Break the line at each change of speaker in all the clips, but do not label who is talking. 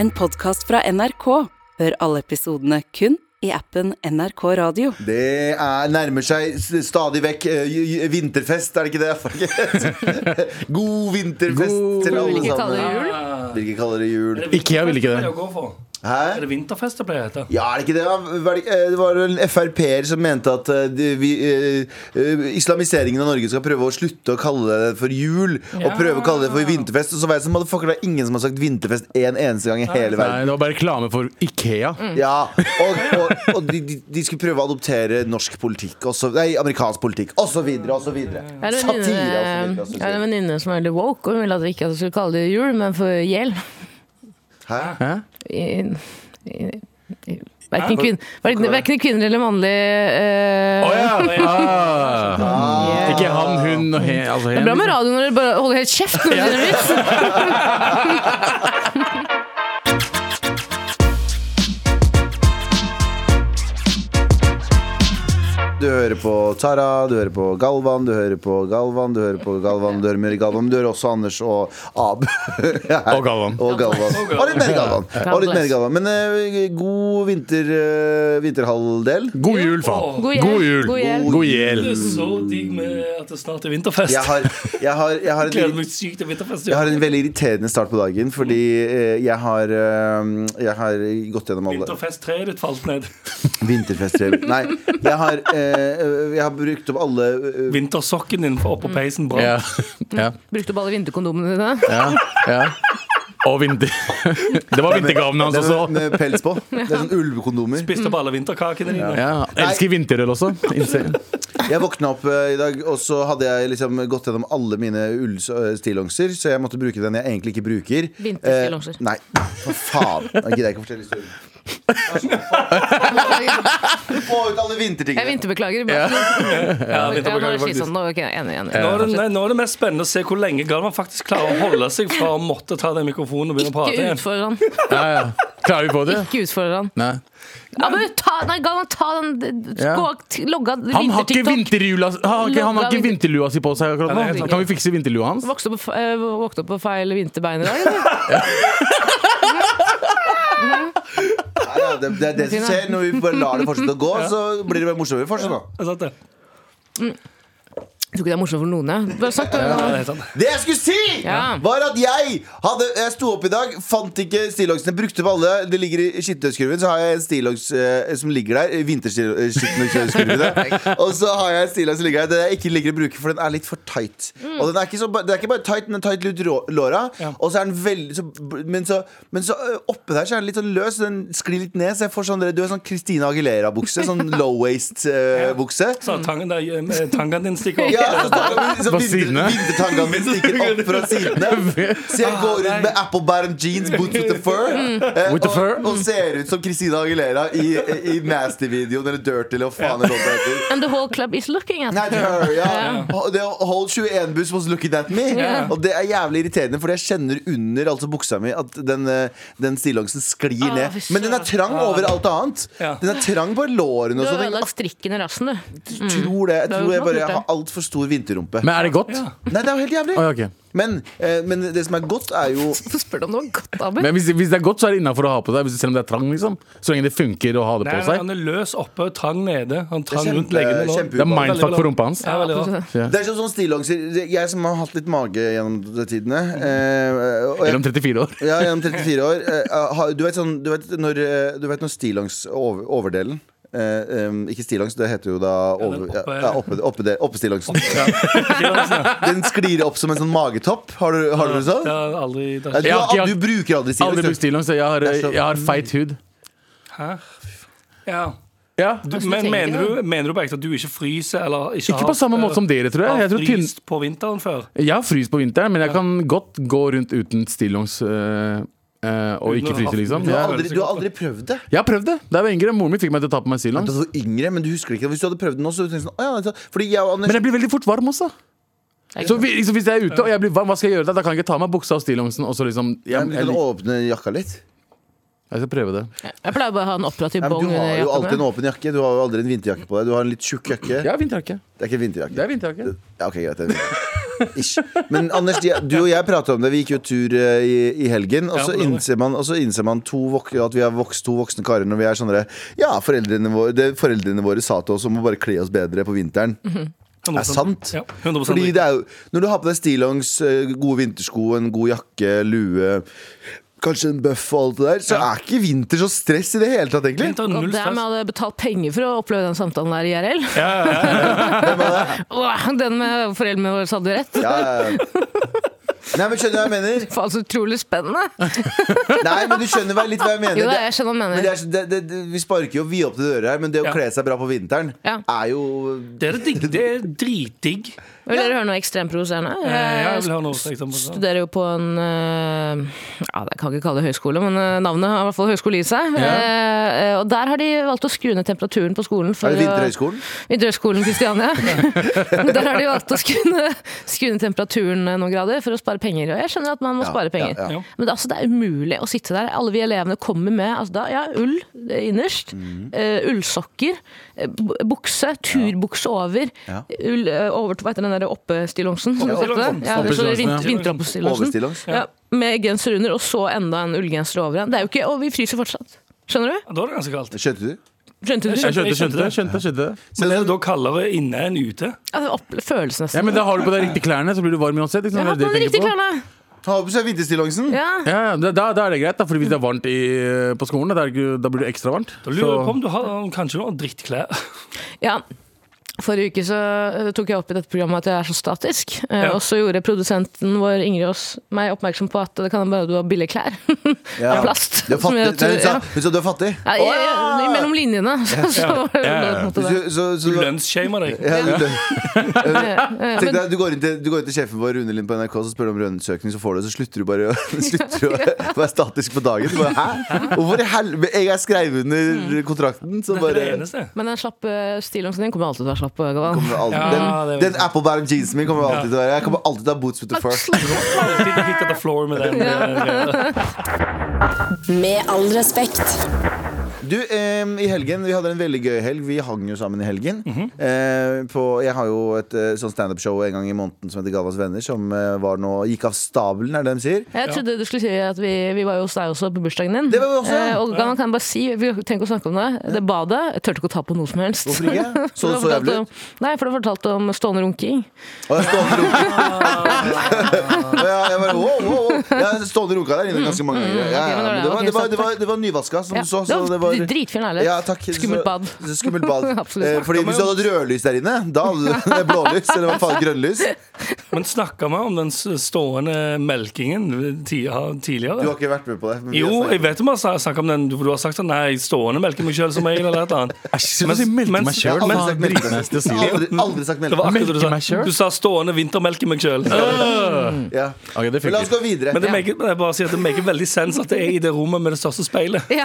En podkast fra NRK. Hør alle episodene kun i appen NRK Radio.
Det er, nærmer seg s- stadig vekk eh, j- j- vinterfest, er det ikke det? Folket? God vinterfest til alle
Hvilke kaller
sammen.
det jul?
Vil ikke kalle det jul.
Ikke, jeg vil ikke det.
Eh, Er å gå for? Er
Hæ?
det vinterfest det pleier å hete?
Ja, er det ikke det? da? Var det, ikke- eh, det var en Frp-er som mente at eh, de- vi, eh, eh, islamiseringen av Norge skal prøve å slutte å kalle det for jul, og
Ja.
prøve å kalle det for vinterfest. Og så var jeg sånn, motherfucker, det er ingen som har sagt vinterfest en eneste gang i hele verden.
Nei, det var bare reklame for Ikea.
Mm.
Ja, og, og, og de, de, de skulle prøve å adoptere norsk politikk, og så- nei, amerikansk politikk, og så videre, og så videre.
Jeg har en
altså,
venninne-
Satire, og så
jeg har en
videre.
venninne som er veldig woke, og hun ville at vi ikke skulle kalle det jul, men for
Og så
gjeld.
videre. Hæ?
Hæ?
I- i- i- Verken kvin, verken- verken kvinner eller mannlige eh,
Å ja! Ah. Ikke han, hun og he, altså
Det
hen.
er bra med radio når dere bare holder helt kjeft. Når dere vil.
Du hører på Tara, du hører på Galvan, du hører på Galvan, du hører på Galvan, du hører mer Galvan, men du hører også Anders og Abu.
Og Galvan.
Og Galvan. Og litt mer Galvan. Og litt mer Galvan. Men eh, god vinter, eh, vinterhalvdel.
God jul, faen.
God jul.
God jul.
God jul.
God jul.
Det er så digg med at det snart er
mm.
vinterfest.
Jeg har, jeg har, jeg har
Jeg
en
gleder meg sykt til vinterfest.
Jeg har en veldig irriterende start på dagen, fordi eh, jeg har, eh, jeg har gått gjennom alle
Vinterfesttreet ditt falt ned.
Vinterfestrev. Nei, jeg har, eh, jeg har brukt opp alle eh,
Vintersokken din for oppå peisen brant.
Mm. Ja. ja.
Brukte opp alle vinterkondomene dine.
ja. ja. Og vinter... Det var vintergavene hans
det er
også.
Med pels på. Det er sånn ulvekondomer.
Spiste opp alle vinterkakene dine.
Ja. Elsker vinterøl også. Insane.
Jeg våkna opp eh, i dag, og så hadde jeg liksom gått gjennom alle mine ullstillongser, så jeg måtte bruke den jeg egentlig ikke bruker.
Vinterstillongser.
Eh, nei, for faen. Da gidder jeg ikke å fortelle historien. Få ut alle
Jeg
vintertingene.
vinterbeklager. Bare.
Ja,
Ja, nå er
vinterkakene
det
faktisk.
slitsomt. Nå, ok, enig, enig.
Nå er, det,
Fortsett.
nei, nå er det mest spennende å se hvor lenge Galvan faktisk klarer å holde seg fra å måtte ta den mikrofonen og begynne å prate
Ikke
igjen.
utfordre han.
Ja, ja. Klarer vi på det?
Ikke utfordre han.
Nei.
Ja, men ta, nei, Galvan, ta den
Ja.
gå, t- Logg av
Han har ikke
vinter-TikTok.
vinterjula Han har ikke, han har ikke vinterlua si på seg akkurat
Nei, det er
nå.
helt
Kan vi fikse vinterlua hans?
Vokste opp, på f- eh, våknet opp på feil vinterbein i dag, eller?
Nei, ja, det, det er det som skjer. Når vi bare lar det fortsette å gå, så blir det bare morsommere fortsatt. Da.
Er sant det?
Jeg tror ikke det er morsomt for noen. jeg. Bare snakk, du.
Ja, det er sant.
Det jeg skulle si,
Ja.
var at jeg hadde Jeg sto opp i dag, fant ikke stillongsene, brukte på alle. Det ligger i skittentøyskurven. Så har jeg en stillongs eh, som ligger der. eh, vinterstil- eh, skittentøyskurven, ja. Og så har jeg en stillongs som ligger der. Det jeg ikke liker å bruke, for den er litt for tight. Og den er ikke så, ba- det er ikke bare tight, den er tight rundt rå- låra.
Ja.
Og så er den veldig så, Men så, men så eh, oppe der så er den litt sånn løs. Den sklir litt ned, så jeg får sånn Du er sånn Christina Aguilera-bukse. Sånn low waist-bukse.
Så tangen der, eh, tangen din stikker opp.
Ja, så tar vi sånn
Fra
vinter,
sidene.
vintertangene mine stikker opp fra sidene. Så jeg går
Ah, nei.
rundt med apple bottom jeans, boots with the fur, eh,
With the fur.
Og, og ser ut som Christina Aguilera i, i Nasty-videoen eller Dirty eller hva faen det låta heter.
And the whole club is looking at
Nei, det er her, ja. Og det er Whole 21 bus was looking at me. Og det er jævlig irriterende, Fordi jeg kjenner under altså buksa mi at den, eh, den stillongsen sklir
Ah,
ned.
fy
Men den er trang over alt annet.
Ja.
Den er trang på lårene
Du
og
har
sånn.
ødelagt strikken i rassen, du.
Jeg tror det. Jeg
har
tror jeg
gjort noe
bare
kult,
har altfor stor vinterrumpe.
Men er det godt?
Ja.
Nei, det er jo helt jævlig.
Å, ja, ok.
Men, eh, men det som er godt, er jo
Hvorfor spør du om det var godt, Abu?
Men hvis, hvis det er godt, så er det innafor å ha på seg. Hvis, selv om det er trang, liksom. Så lenge det funker å ha det
Nei,
på
nei,
seg.
han er løs oppe og trang nede.
det
Han
er
trang rundt
kjempe,
leggene. nå.
kjempeubehagelig.
Det er mindfuck for rumpa hans.
Ja, veldig bra.
Det er sånn sånn stillongser Jeg som har hatt litt mage gjennom de tidene eh, og jeg,
Mellom 34 år.
ja, Gjennom 34 år. eh, har- Du vet, sånn, du vet når, eh, du vet når stillongs over, overdelen eh, em, ikke stillongs, det heter jo da over,
den
ja,
oppe-
ja, oppe, oppe, det- oppestillongsen. Den sklir opp som en sånn magettopp. Har du, har du det sånn?
altså. Det har aldri
Ja,
det har
du,
ikke-
Jeg har ikke-
du bruker aldri
Aldri brukt
stillongs. du.
stillongs. så Jeg, har-
Det er så-
jeg har feit hud.
Hæ? Ja.
Ja.
Du,
Hvordan
men
tenker
mener
du?
du, mener du bare ikke at du ikke fryser? Eller ikke, eh,
Ikke på samme måte som dere, tror jeg. Jeg,
har
tror tynn,
fryst på vinteren før?
jeg har fryst på vinteren, men jeg kan godt gå rundt uten stillongs øh, øh, og ikke fryse, liksom.
Du har
Jeg,
aldri, du har aldri prøvd det.
jeg har prøvd det. Da jeg var yngre, moren min fikk meg til å ta på meg
Du
stillongs.
var yngre, men du husker det ikke. Hvis du hadde prøvd det nå, så hadde du tenkt sånn, «Å ja, det er så-» Fordi jeg og Anders
Men jeg blir veldig fort varm også. Så hvis, så hvis jeg er ute og jeg blir varm, hva skal jeg gjøre da? Da kan jeg ikke ta av meg buksa og stillongsen. Og så liksom,
Ja,
jeg,
men
jeg,
du kan
jeg,
åpne jakka litt.
skal prøve det.
Jeg pleier bare å ha en operativ
Ja, men
bong
du har
under
jo alltid
jakka.
en åpen jakke. Du har jo aldri en vinterjakke på deg. Du har en litt tjukk jakke.
Jeg har vinterjakke.
Det er ikke en vinterjakke.
Det er vinterjakke.
Ja, ok, greit. det er en vinterjakke. Ish. Men Anders, de, du og jeg pratet om det. Vi gikk jo tur eh, i, i helgen. Og
Ja,
så
det var det.
innser man, og så innser man to vok at vi er vokst, to voksne karer når vi er sånne der, Ja, foreldrene våre, det foreldrene våre sa til oss om å bare kle oss bedre på vinteren.
Mhm.
Det er sant.
Ja, 100%
Fordi
riktig.
det er jo, når du har på deg stillongs, eh, gode vintersko, en god jakke, lue Kanskje en bøff og alt det der, så
Ja.
er ikke vinter så stress i det hele tatt, egentlig.
Vinter,
Og
null
det er med
stress.
hadde betalt penger for å oppleve den samtalen der i IRL.
Ja, ja, ja.
Åh, Den med foreldrene våre sa du rett.
Ja, ja, ja. Nei, men skjønner du hva jeg mener?
Faen, så utrolig spennende!
Nei, men du skjønner hva- litt hva jeg mener.
Jo da,
Det-
jeg skjønner hva
Men
du
det er,
mener.
så- det, det, det, vi sparker jo vidt opp til dører her, men det å
Ja.
kle seg bra på vinteren
Ja.
er jo
Det er, det digg. det er dritdigg.
Vil dere høre noe ekstremprovoserende?
Eh, Jeg vil
Jeg
ha noe sånn. eksempel.
studerer jo på en eh, ja, Jeg kan ikke kalle det høyskole, men eh, navnet har i hvert fall høyskole i seg. Eh, eh, Og der har de valgt å skru ned temperaturen på skolen. For
Er det
å-
Vinterhøgskolen?
Vinterhøgskolen Kristiania. Der har de valgt å skru ned- skru ned temperaturen noen grader for å spare penger. Og jeg skjønner at man må
Ja,
spare penger.
ja,
ja.
Men det, altså, det er umulig å sitte der. Alle vi elevene kommer med altså, da, ja, ull innerst, eh, ullsokker, eh, bu- bukse, turbukse over,
Ja.
ull eh, over til hva heter den der oppestillongsen? som du
Oppestillongsen.
kalte det? Ja, det er sånn
Oppestillongsen,
vint-
ja.
Vinteroppestillongsen.
Overstillongs?
Ja, med genser under, og så enda en ullgenser over igjen. Det er jo ikke, Og vi fryser fortsatt. Skjønner du?
Da er det ganske kaldt.
Skjønte du?
Skjønte du?
Jeg
Jeg skjønte, skjønte, det,
det.
skjønte, skjønte. det.
Men er det da kaldere inne enn ute?
Ja, det er Altså, opp- følelsen nesten.
Ja, men da har du på deg riktige klærne, så blir du varm uansett. Liksom.
jeg har hatt
Det
på
er
de
det jeg
riktige
tenker på.
klærne!
Ta på seg vinterstillongsen?
Ja.
Ja, ja, da, da er det greit, da, fordi hvis det er varmt i, eh, på skolen, da, er det ikke- da blir det ekstra varmt.
Da lurer jeg
Så-
på om du har kanskje noen drittklær.
Ja. Forrige uke så eh, tok jeg opp i dette programmet at jeg er så statisk. Eh,
Ja.
Og så gjorde produsenten vår Ingrid Aas meg oppmerksom på at det kan bare du har billige klær.
Ja.
Av plast.
Du er
Som
fattig.
gjør at
Nei, hun, sa,
ja.
hun sa du er fattig.
Ja, jeg, jeg, mellom linjene. Så, så var det
Ja, ja, ja.
på en måte
Så,
det.
så, så,
Du lønnsshamer deg.
ja, du,
Eh,
tenk
Men,
deg, du, går inn til, du går inn til sjefen vår, Rune Lind på NRK, så spør du om lønnssøkning, så får du det, så slutter du bare å, slutter du å være statisk på dagen. Du Bare, Hæ? Hvorfor i helvete? Jeg er skrev
Mm.
under kontrakten, så
Det er det
bare
eneste.
men den slappe stillongsen din kommer alltid til å være slapp. Gavan.
kommer alltid,
Ja,
Den,
det er-
den apple bottom jeansen min kommer alltid til å være Jeg kommer alltid til å ha boots with the first.
Alltid hit at the floor med den. eh,
Med all respekt.
Du, em, i helgen, vi hadde en veldig gøy helg Vi hang jo sammen i helgen
Mhm.
Eh, på, Jeg har jo et eh, sånn stand-up-show En gang i måneden som heter Galvas Venner Som eh, var nå, gikk av stabelen, er det de sier
Jeg trodde du skulle si at vi, vi var jo hos deg også på bursdagen din.
Det var vi også, ja.
Eh, og Gavan, kan jeg bare si, vi trenger ikke å snakke om det. Det badet, jeg turte ikke å ta på noe som helst.
Hvorfor ikke? Så det så
Du har fortalt
jævlig ut
om- Nei, for du fortalte om stående runking.
Og jeg stående runka Og jeg, jeg bare, wow, wow, wow Jeg stående runka der inne ganske mange ganger ja, ja,
Mm, ok, men da er
men
det-
det, var,
ok,
det, var,
så
det, var, det var nyvaska som
Ja,
du så,
det
så
var
det var,
dritfin leilighet.
ja, takk. Så-
Skummelt bad.
så- Skummelt bad
Absolutt.
Eh, Fordi hvis du hadde hatt rødlys der inne Da hadde du blålys, eller hva faen, grønnlys
Men snakka vi om den s- stående melkingen ti- ha-
Du har
tidligere?
ikke vært med på det men vi har
Jo,
snakket.
jeg vet om jeg har snakket om den. Du har sagt at nei, stående melker meg sjøl som regel, eller et eller annet.
Æsj, slutt å si
Mens-
melke meg
mens-
sjøl.
Jeg har aldri sagt
faen,
melke meg.
dritnæste å si det.
Aldri, aldri sagt
Det var
melke.
akkurat det du
Melke meg
sa.
selv?
Du sa 'stående vintermelke meg sjøl'. Men
Ja.
Ok, det
Men la oss gå
funker.
videre.
det maker, men jeg bare sier at det maker veldig sens at det er i det rommet med det største speilet.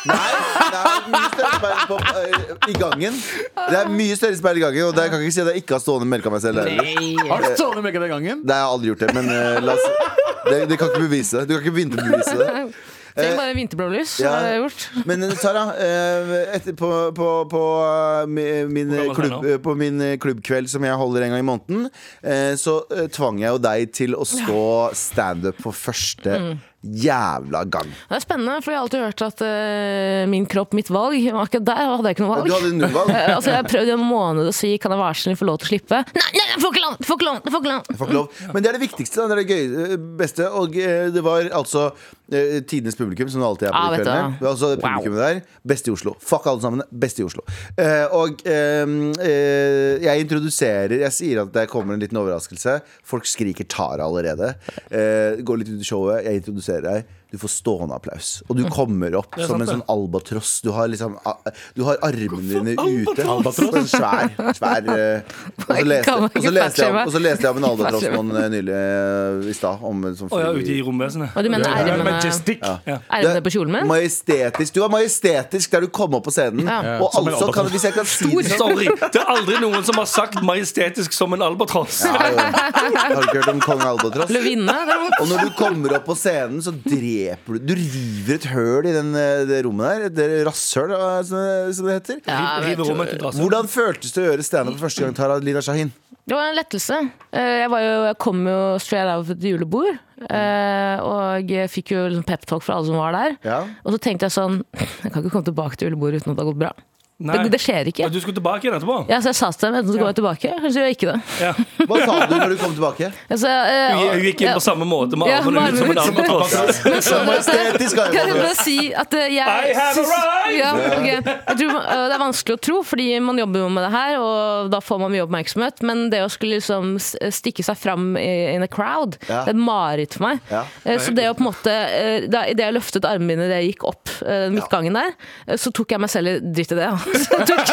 Ja.
Nei, det er mye større speil på, ø, i gangen. Det er mye større speil i gangen, og det jeg kan ikke si at jeg ikke har stående melka meg selv. heller.
Har du stående melke den gangen?
Nei, jeg har aldri gjort det, men ø, la oss det, det kan ikke bevise det. Du kan ikke begynne å bevise det.
Trenger bare vinterblålys.
ja.
Ja. Har jeg gjort.
Men ø, Sara, ø, etter, på, på, på, ø, mi- min, ø,
Hvor gammel er
klubb,
du nå?
ø, på min ø, klubbkveld som jeg holder en gang i måneden, ø, så ø, tvang jeg jo deg til å stå standup for første jævla gang.
Det er spennende, for jeg har alltid hørt at eh, min kropp, mitt valg Men Akkurat der hadde jeg ikke noe
Du
valg.
hadde null valg.
Eh, altså, jeg har prøvd i en måned å si 'kan jeg være så snill få lov til å slippe'? Nei, nei, jeg får ikke lov! jeg Får ikke lov! jeg Får ikke lov!
Får ikke lov. Men det er det viktigste. Da. Det er det gøy, beste. Og eh, det var altså eh, tidenes publikum, som det alltid er på
Ah,
de
vet du
kveldene.
hva.
Det var Altså, det publikummet der. Best i Oslo. Fuck alle sammen. Best i Oslo. Eh, og eh, eh, jeg introduserer Jeg sier at det kommer en liten overraskelse. Folk skriker Tara allerede. Eh, går litt ut i showet. Jeg introduserer deg. Du får stående applaus. Og du kommer opp
er
som
sant,
en
det.
sånn albatross. Du har liksom ah, Du har armene dine ute.
Albatross?
Sånn svær. svær eh, og så leste-
Kan man
og så
ikke
leste jeg om-
fettshamea?
og så leste jeg om en albatross
Fettshamea.
noen eh, nylig eh, i stad. Om en sånn
Å ja,
fly-
ute i romvesenet.
Og du mener eh, ermene
Majestic.
ermene på kjolen min?
Majestetisk. Du var majestetisk der du kom opp på scenen.
Ja.
Og
Som en
altså, kan,
albatross.
hvis jeg kan si det sånn
Sorry! Det er aldri noen som har sagt majestetisk som en albatross.
ja, jo. Har du ikke hørt om kong Albatross?
Løvinne? derimot.
Og når du kommer opp på scenen, så dreper du Du river et høl i den, eh, det rommet der. Det rasshøl, eh, som det- som det heter.
Ja, jeg
River
vet jo-
rommet til drassen.
Hvordan føltes det å gjøre standup for første gang, Tara Lina Shahin?
Det var en lettelse. Eh, Jeg, var jo, jeg kom jo straight out of et julebord, eh, og jeg fikk jo liksom peptalk fra alle som var der.
Ja.
Og så tenkte jeg sånn Jeg kan ikke komme tilbake til julebordet uten at det har gått bra. Det, det skjer ikke.
Men du skulle tilbake igjen etterpå?
Ja, så jeg sa til dem enten så går jeg tilbake, eller så gjør jeg ikke det.
Ja.
Hva sa du når du kom tilbake?
Altså, eh,
Hun hun gikk inn på samme måte med
Ja,
armene
med
ut som en
armene ut.
albatross.
Men så-
Estetisk har jeg
Kan jeg
fått det.
bare si at eh, jeg
I have
syns-
arrived!
Ja, ok. jeg tror, eh, Det er vanskelig å tro, fordi man jobber jo med det her, og da får man mye oppmerksomhet. Men det å skulle liksom s- stikke seg fram i- in a crowd,
Ja.
det er et mareritt for meg.
Ja.
Eh, Så det å på en måte eh, da- Idet jeg løftet armene mine idet jeg gikk opp eh, midtgangen der, eh, så tok jeg meg selv i Dritt i det, ja. Så jeg tok-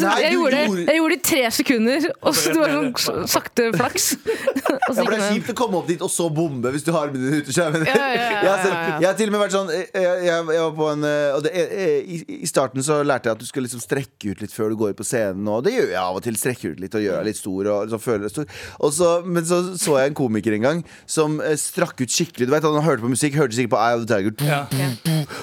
Nei,
Jeg
du
gjorde det
gjorde-
jeg gjorde det i tre sekunder, og så det var sånn s- sakte flaks.
Ja, for
Og så gikk
Det er
jeg ned.
kjipt å komme opp dit og så bombe hvis du har armene ute. skjønner du?
Ja, ja, ja, ja,
Jeg, har selv-
ja.
jeg har til og med vært sånn eh, Jeg, jeg, jeg var på en eh, og det, eh, eh, i, I starten så lærte jeg at du skal liksom strekke ut litt før du går på scenen. Og det gjør jeg av og til. Strekker ut litt og gjør deg litt stor. Og liksom føler deg stor og så, Men så så jeg en komiker en gang som eh, strakk ut skikkelig. Du vet, Han hørte på musikk, hørte sikkert på Eye of the Tiger.
Ja.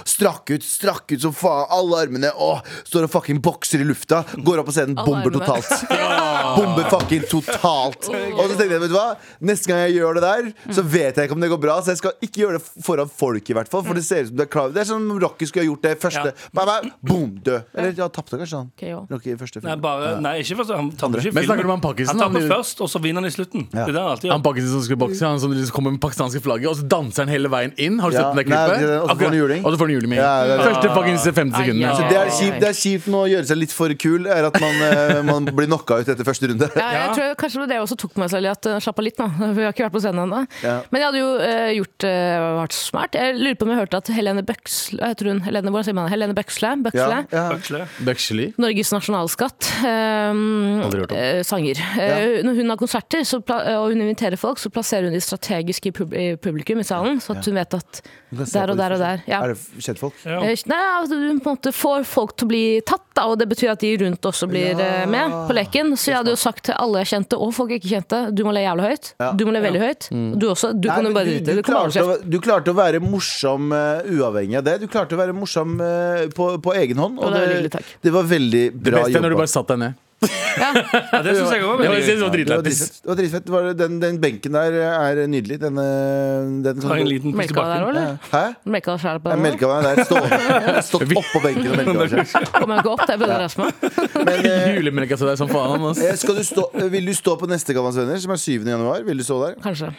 Strakk ut, strakk ut som faen. Alle armene. Åh, står og fucking bokser i lufta. Går opp på scenen,
Alle
bomber
armene.
totalt. Bomber fucking totalt. Og så tenkte jeg, vet du hva? Neste gang jeg gjør det der, så
Mm.
vet jeg ikke om det går bra. Så jeg skal ikke gjøre det foran folk, i hvert fall. For
Mm.
det ser ut som du er klar Det er som om Rocky skulle ha gjort det første.
Ja.
Bam, bam, boom, død. Eller ja, tapte kanskje han.
Ok, jo.
Rocky i første
Nei,
film.
bare, nei ikke først. Han tar ikke
Men snakker du
filmen.
om han Pakkisen,
Han tar
han
den
i-
først, og så vinner han i slutten. Det er det han alltid
Han
gjør.
pakkisen som skulle bokse, han som liksom kommer med pakistanske flagget, og så danser han hele veien inn. Har du
Ja,
sett
nei,
det klippet?
det- og så får han
Akkurat.
juling.
Og så får han juling med en
Ja, det
gang.
er det.
Første fucking 50
Ai,
sekundene.
ai,
Det er, kjipt, det er kjipt med å gjøre seg litt for kul, er at man, eh, man blir knocka ut etter første runde.
Ja, jeg tror kanskje det var det jeg også tok meg selv i at uh, slapp av litt nå. Vi har ikke vært på scenen ennå.
Ja.
Men jeg hadde jo eh, gjort uh, vært smart. Jeg lurer på om jeg hørte at Helene Bøksle Jeg tror hun, Helene, hvordan sier man det? Helene Bøksle, Bøksle
Ja, ja.
Bøksle.
Bøksli.
Norges nasjonalskatt. ehm,
Aldri hørt om.
eh, sanger. Eh, Når hun har konserter så pla og hun inviterer folk, så plasserer hun de strategisk i, pub i publikum i salen, så at hun vet at
Du kan se
der
på de
og der og
forskjellige.
der. Ja.
Er det kjentfolk?
Ja.
Eh, Nei, altså, du på en måte får folk til å bli tatt, da, og det betyr at de rundt også blir eh, med på leken. Så jeg hadde jo sagt til alle jeg kjente, og folk jeg ikke kjente, du må le jævla høyt. Du må le veldig høyt. Du også.
Mm.
Du
Nei,
kan
men
jo bare
du,
drite.
du,
Du kan bare
klarte
holde
å,
kjeft.
du klarte å være morsom eh, uavhengig av det. Du klarte å være morsom eh, på, på egen hånd.
Og det er veldig, takk.
det var veldig
Det
bra
beste er
jobba.
når du bare satt deg ned.
Ja, det syns jeg òg.
Det var, det var
Det var
dritlættis.
dritfett. Det var dritfett. Det var, den, den benken der er nydelig. Den, eh, den
Ta en liten pust i
Melka deg der
bakken.
òg, eller?
Hæ?
Melka deg selv på
Jeg
den? nå?
melka meg der. Stå, jeg har stått oppå benken og melka meg. selv.
Kommer jeg ikke opp? Det er bedre å reise meg.
Men, eh,
Julemelka til deg som faen. ass.
eh, skal du stå, eh, vil du stå på neste Gammans venner, som er 7. januar? Vil du stå der?
Kanskje.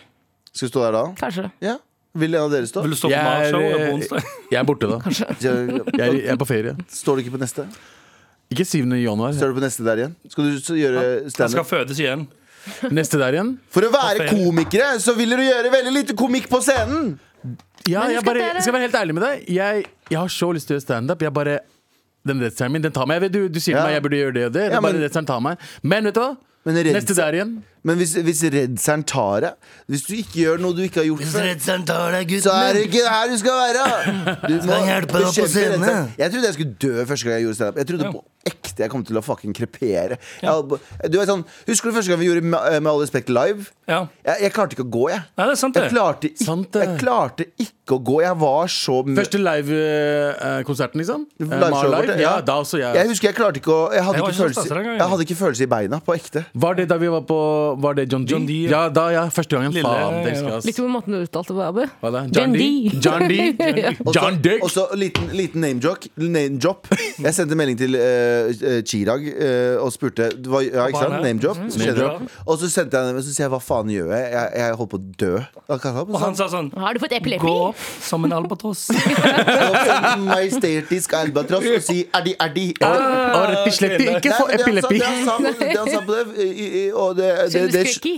Skal du stå der da?
Kanskje.
Ja. Vil en av dere stå?
Vil du stå på
Jeg er,
Mars-showet på
eh,
onsdag?
jeg er borte, da. Jeg er,
Står
jeg er på ferie.
du ikke på neste?
Ikke 7. januar.
Står du på neste der igjen? Skal du så gjøre
Han
standup?
skal fødes igjen.
Neste der igjen.
For å være komikere så vil dere gjøre veldig lite komikk på scenen.
Ja,
Men
jeg
husk
bare,
at dere-
skal være helt ærlig med deg. Jeg, jeg har så lyst til å gjøre standup. Jeg bare Den redselen min, den tar meg. Jeg vet, Du, du sier
Ja.
til meg jeg burde gjøre det og det. det
Ja,
er bare
men-
redselen tar meg. Men vet du hva?
Men redsel-
Neste der igjen.
Men hvis, hvis redselen tar deg, hvis du ikke gjør noe du ikke har gjort før, så er det ikke her du skal være! Du må bekjempe redselen. Jeg trodde jeg skulle dø første gang jeg gjorde standup. Jeg trodde på ekte jeg kom til å fucking krepere. Jeg hadde, du vet sånn, Husker du første gang vi gjorde eh, Med, med all respekt live?
Ja.
Jeg, jeg klarte ikke å gå, jeg.
Nei, det er sant,
Jeg
det.
klarte, ikke,
Sant det.
jeg klarte ikke å gå. Jeg var så mø-
Første live-konserten, liksom. Eh,
Liveshowet
Mar
vårt,
Live. Ja, da også
Jeg
jeg.
husker jeg klarte ikke å Jeg hadde, ikke
Jeg var ikke så
følelse,
stressa den gangen.
jeg hadde ikke følelse i beina, på ekte.
Var det da vi var på Var det John D?
John D,
ja.
ja.
da, ja. Første gangen.
Lille-
Faen, det husker jeg. ass.
Likte du måten du uttalte det på, Abu?
Hva da? John D? John D?
Og så-
John Dick?
Og så liten, liten name, joke, name drop. Jeg sendte melding til eh, eh, Chirag eh, og spurte hva, ja, ikke sant?
han er. Mm.
Name drop. Så skjedde
Name
det. Og så sendte jeg den, men så sier jeg hva faen gjør jeg? Jeg, jeg holdt på å dø. Da kan jeg ha på
Og han
sånn.
sa sånn
Har du fått
Gå
epilepi?
opp som en albatross.
Send majestetisk albatross og si addi, addi.
Og rett og slett Ah, ikke få
Nei, men det han sa-
epilepi.
det han sa på- Det han sa på det, i- i- og det, det,
Kjennes
det,
skrekki.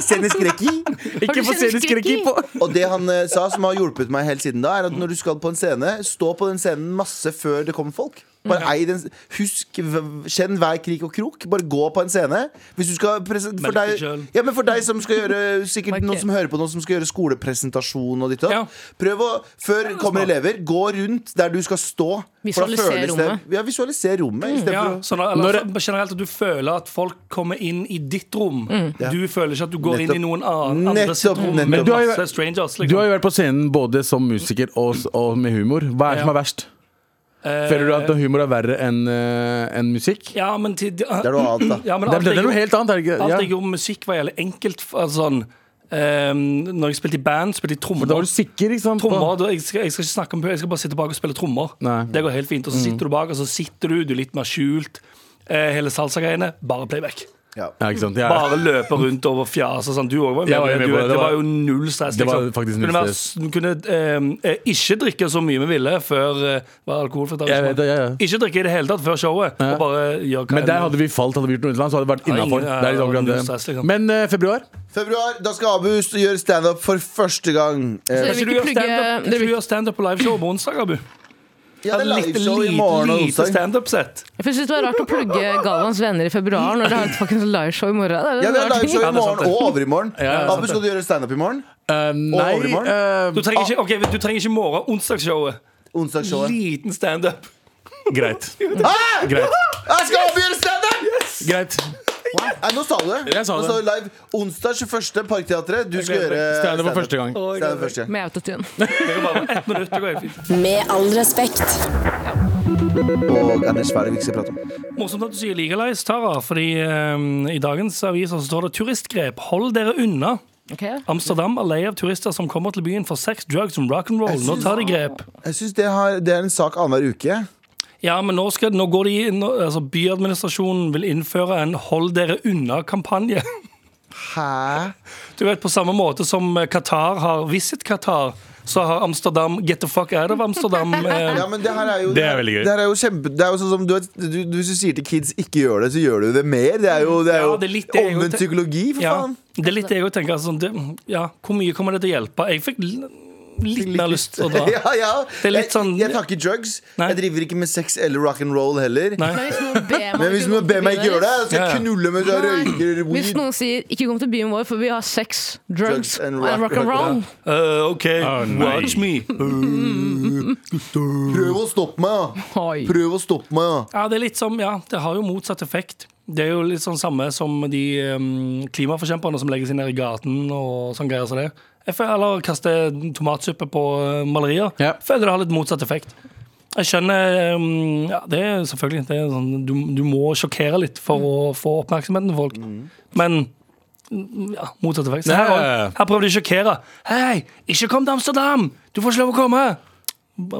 Scenisk reki.
Ikke få
kjent
serieskriki
skrekki?
på.
Og det han eh, sa, som har hjulpet meg helt siden da, er at når du skal på en scene, stå på den scenen masse før det kommer folk. Bare ei den Husk, v- kjenn hver krik og krok. Bare gå på en scene. Hvis du skal presen- for
Melk deg
deg,
selv.
ja, men for deg som skal gjøre Sikkert
Marker.
noen som hører på noen som skal gjøre skolepresentasjon og ditt og
Ja.
datt. Prøv å Før kommer
smart.
elever, gå rundt der du skal stå. for da
Visualiser
føles det-
rommet.
Ja, visualiser rommet. i stedet
Ja,
for å-
sånn, eller, sånn generelt at du føler at folk kommer inn i ditt rom. Du føler ikke at du går inn i noen annen, andres
Nettopp,
rom.
nettopp.
Men du har jo
vært-
masse strangers,
Du har
liksom.
jo vært på scenen både som musiker og, og med humor. Hva er det som
Ja.
er verst? Føler du at humor er verre enn eh, enn musikk?
Eh, Ja, men til Det
Det er noe annet, da.
Ja, men
Det
alt
er, det
jeg
er noe
gjorde-
helt annet, er det ikke?
Alt
Ja.
jeg gjorde med musikk, var gjelder enkelt. Altså, sånn, ehm, når jeg spilte i band, spilte jeg trommer.
Da var du sikker, ikke sant? på-
Trommer, da, jeg, skal, jeg skal ikke snakke om Jeg skal bare sitte bak og spille trommer.
Nei. Mm.
Det går helt fint. Og så sitter du bak, og så sitter du, du er litt mer skjult. Eh, hele salsa-greiene, bare playback.
Ja, ikke sant? Ja.
Bare løpe rundt over fjas og sånn. Du òg var
Jeg
jo
var jo
med.
med
Du,
på det.
det
Det
var
var-
jo null stress.
Det var
liksom.
faktisk null
Kunne, være,
stress.
s- kunne eh, eh, ikke drikke så mye vi ville før eh, var alkoholfritt.
Jeg vet det, ja, ja.
Ikke drikke i det hele tatt før showet.
Ja.
Og bare gjøre
Men der hadde vi falt, hadde vi gjort noe utenlands, så hadde det vært
Ja,
innafor.
ingen- ja,
det.
null stress, liksom.
Men eh, februar?
Februar, da skal Abu st- gjøre standup for første gang. Eh,
Dere
Kanskje
vil
du gjør
ikke plugge
standup-
dere
kanskje du
vil-
gjør standup på liveshow på onsdag, Abu?
ja, det er
Litt-
liveshow i
lite-
morgen og
lite
onsdag.
standup-sett.
Jeg synes det var rart å plugge Galvans venner i februar når dere har et fucking liveshow i morgen. Det er
Ja,
en
vi har
rar ting.
liveshow
Ja,
i
det er
morgen
sant, det.
og overmorgen.
det er
Abu, skal du gjøre standup i morgen?
Eh, nei
overmorgen?
eh,
Du trenger ikke, ok, du trenger ikke morgen, onsdagsshowet.
Onsdagsshowet.
Liten standup.
Greit.
Ah!
Greit.
Jeg skal Abu gjøre standup!
Greit.
Nei, nå sa du det.
Jeg sa
Nå
det.
sa du live Onsdag 21. Parkteatret. Du skal
gleder
gjøre
Standup for første gang.
Standup første gang.
Med autotune.
Det er bare ett minutt, det går helt fint.
Med all respekt.
Og Anders Ferdig, vi ikke skal prate om.
Morsomt at du sier legalize, Tara, fordi eh, i dagens aviser så står det turistgrep. Hold dere unna.
Ok.
Amsterdam er lei av turister som kommer til byen for sex, drugs og rock'n'roll. Nå tar de grep.
Jeg syns det, har- det er en sak annenhver uke.
Ja, men nå, skal, nå går de inn, og- altså Byadministrasjonen vil innføre en hold dere unna-kampanje.
Hæ?
Du vet, På samme måte som Qatar har Visit Qatar, så har Amsterdam Get the fuck out of Amsterdam. Eh,
Ja, men det her er jo
Det er veldig gøy.
Det her er jo kjempe Det er jo sånn som du, vet, du, du Hvis du sier til kids ikke gjør det, så gjør du det mer. Det er jo, det er jo
Ja, det er litt det jeg
omvendt
tenker.
psykologi, for
ja,
faen.
det er litt det jeg òg tenker. Altså, det, ja, hvor mye kommer det til å hjelpe? Jeg fikk l- litt mer lyst til å dra.
Ja, ja.
er litt sånn-
jeg, jeg tar ikke drugs.
Nei.
Jeg driver ikke med sex eller rock and roll heller.
Nei.
Men hvis noen
Men hvis du ber
ber meg ikke komme til
meg ikke
byen
gjøre det, så
deres-
skal jeg
Ja, ja.
knulle mens jeg røyker
Hvis
weed.
noen sier 'ikke kom til byen vår, for vi har sex, drugs,
Drugs and
and
rock-
rock'n'roll',
Eh, OK,
Å, nei.
watch me.
Prøv å stoppe meg, da.
Oi.
Prøv å stoppe meg, da.
Ja, det er litt som, ja, det har jo motsatt effekt. Det er jo litt sånn samme som de em, klimaforkjemperne som legger seg ned i gaten og sånn greier som det. Jeg føler, eller kaster tomatsuppe på eh, malerier.
Ja.
Føler det har litt motsatt effekt. Jeg skjønner em, Ja, det er selvfølgelig det er sånn, du, du må sjokkere litt for å få oppmerksomheten til folk. Men mm, ja, motsatt effekt. Så her,
Ja, ja, ja.
også, her prøver de å sjokkere. Hei, ikke kom til Amsterdam! Du får ikke lov å komme!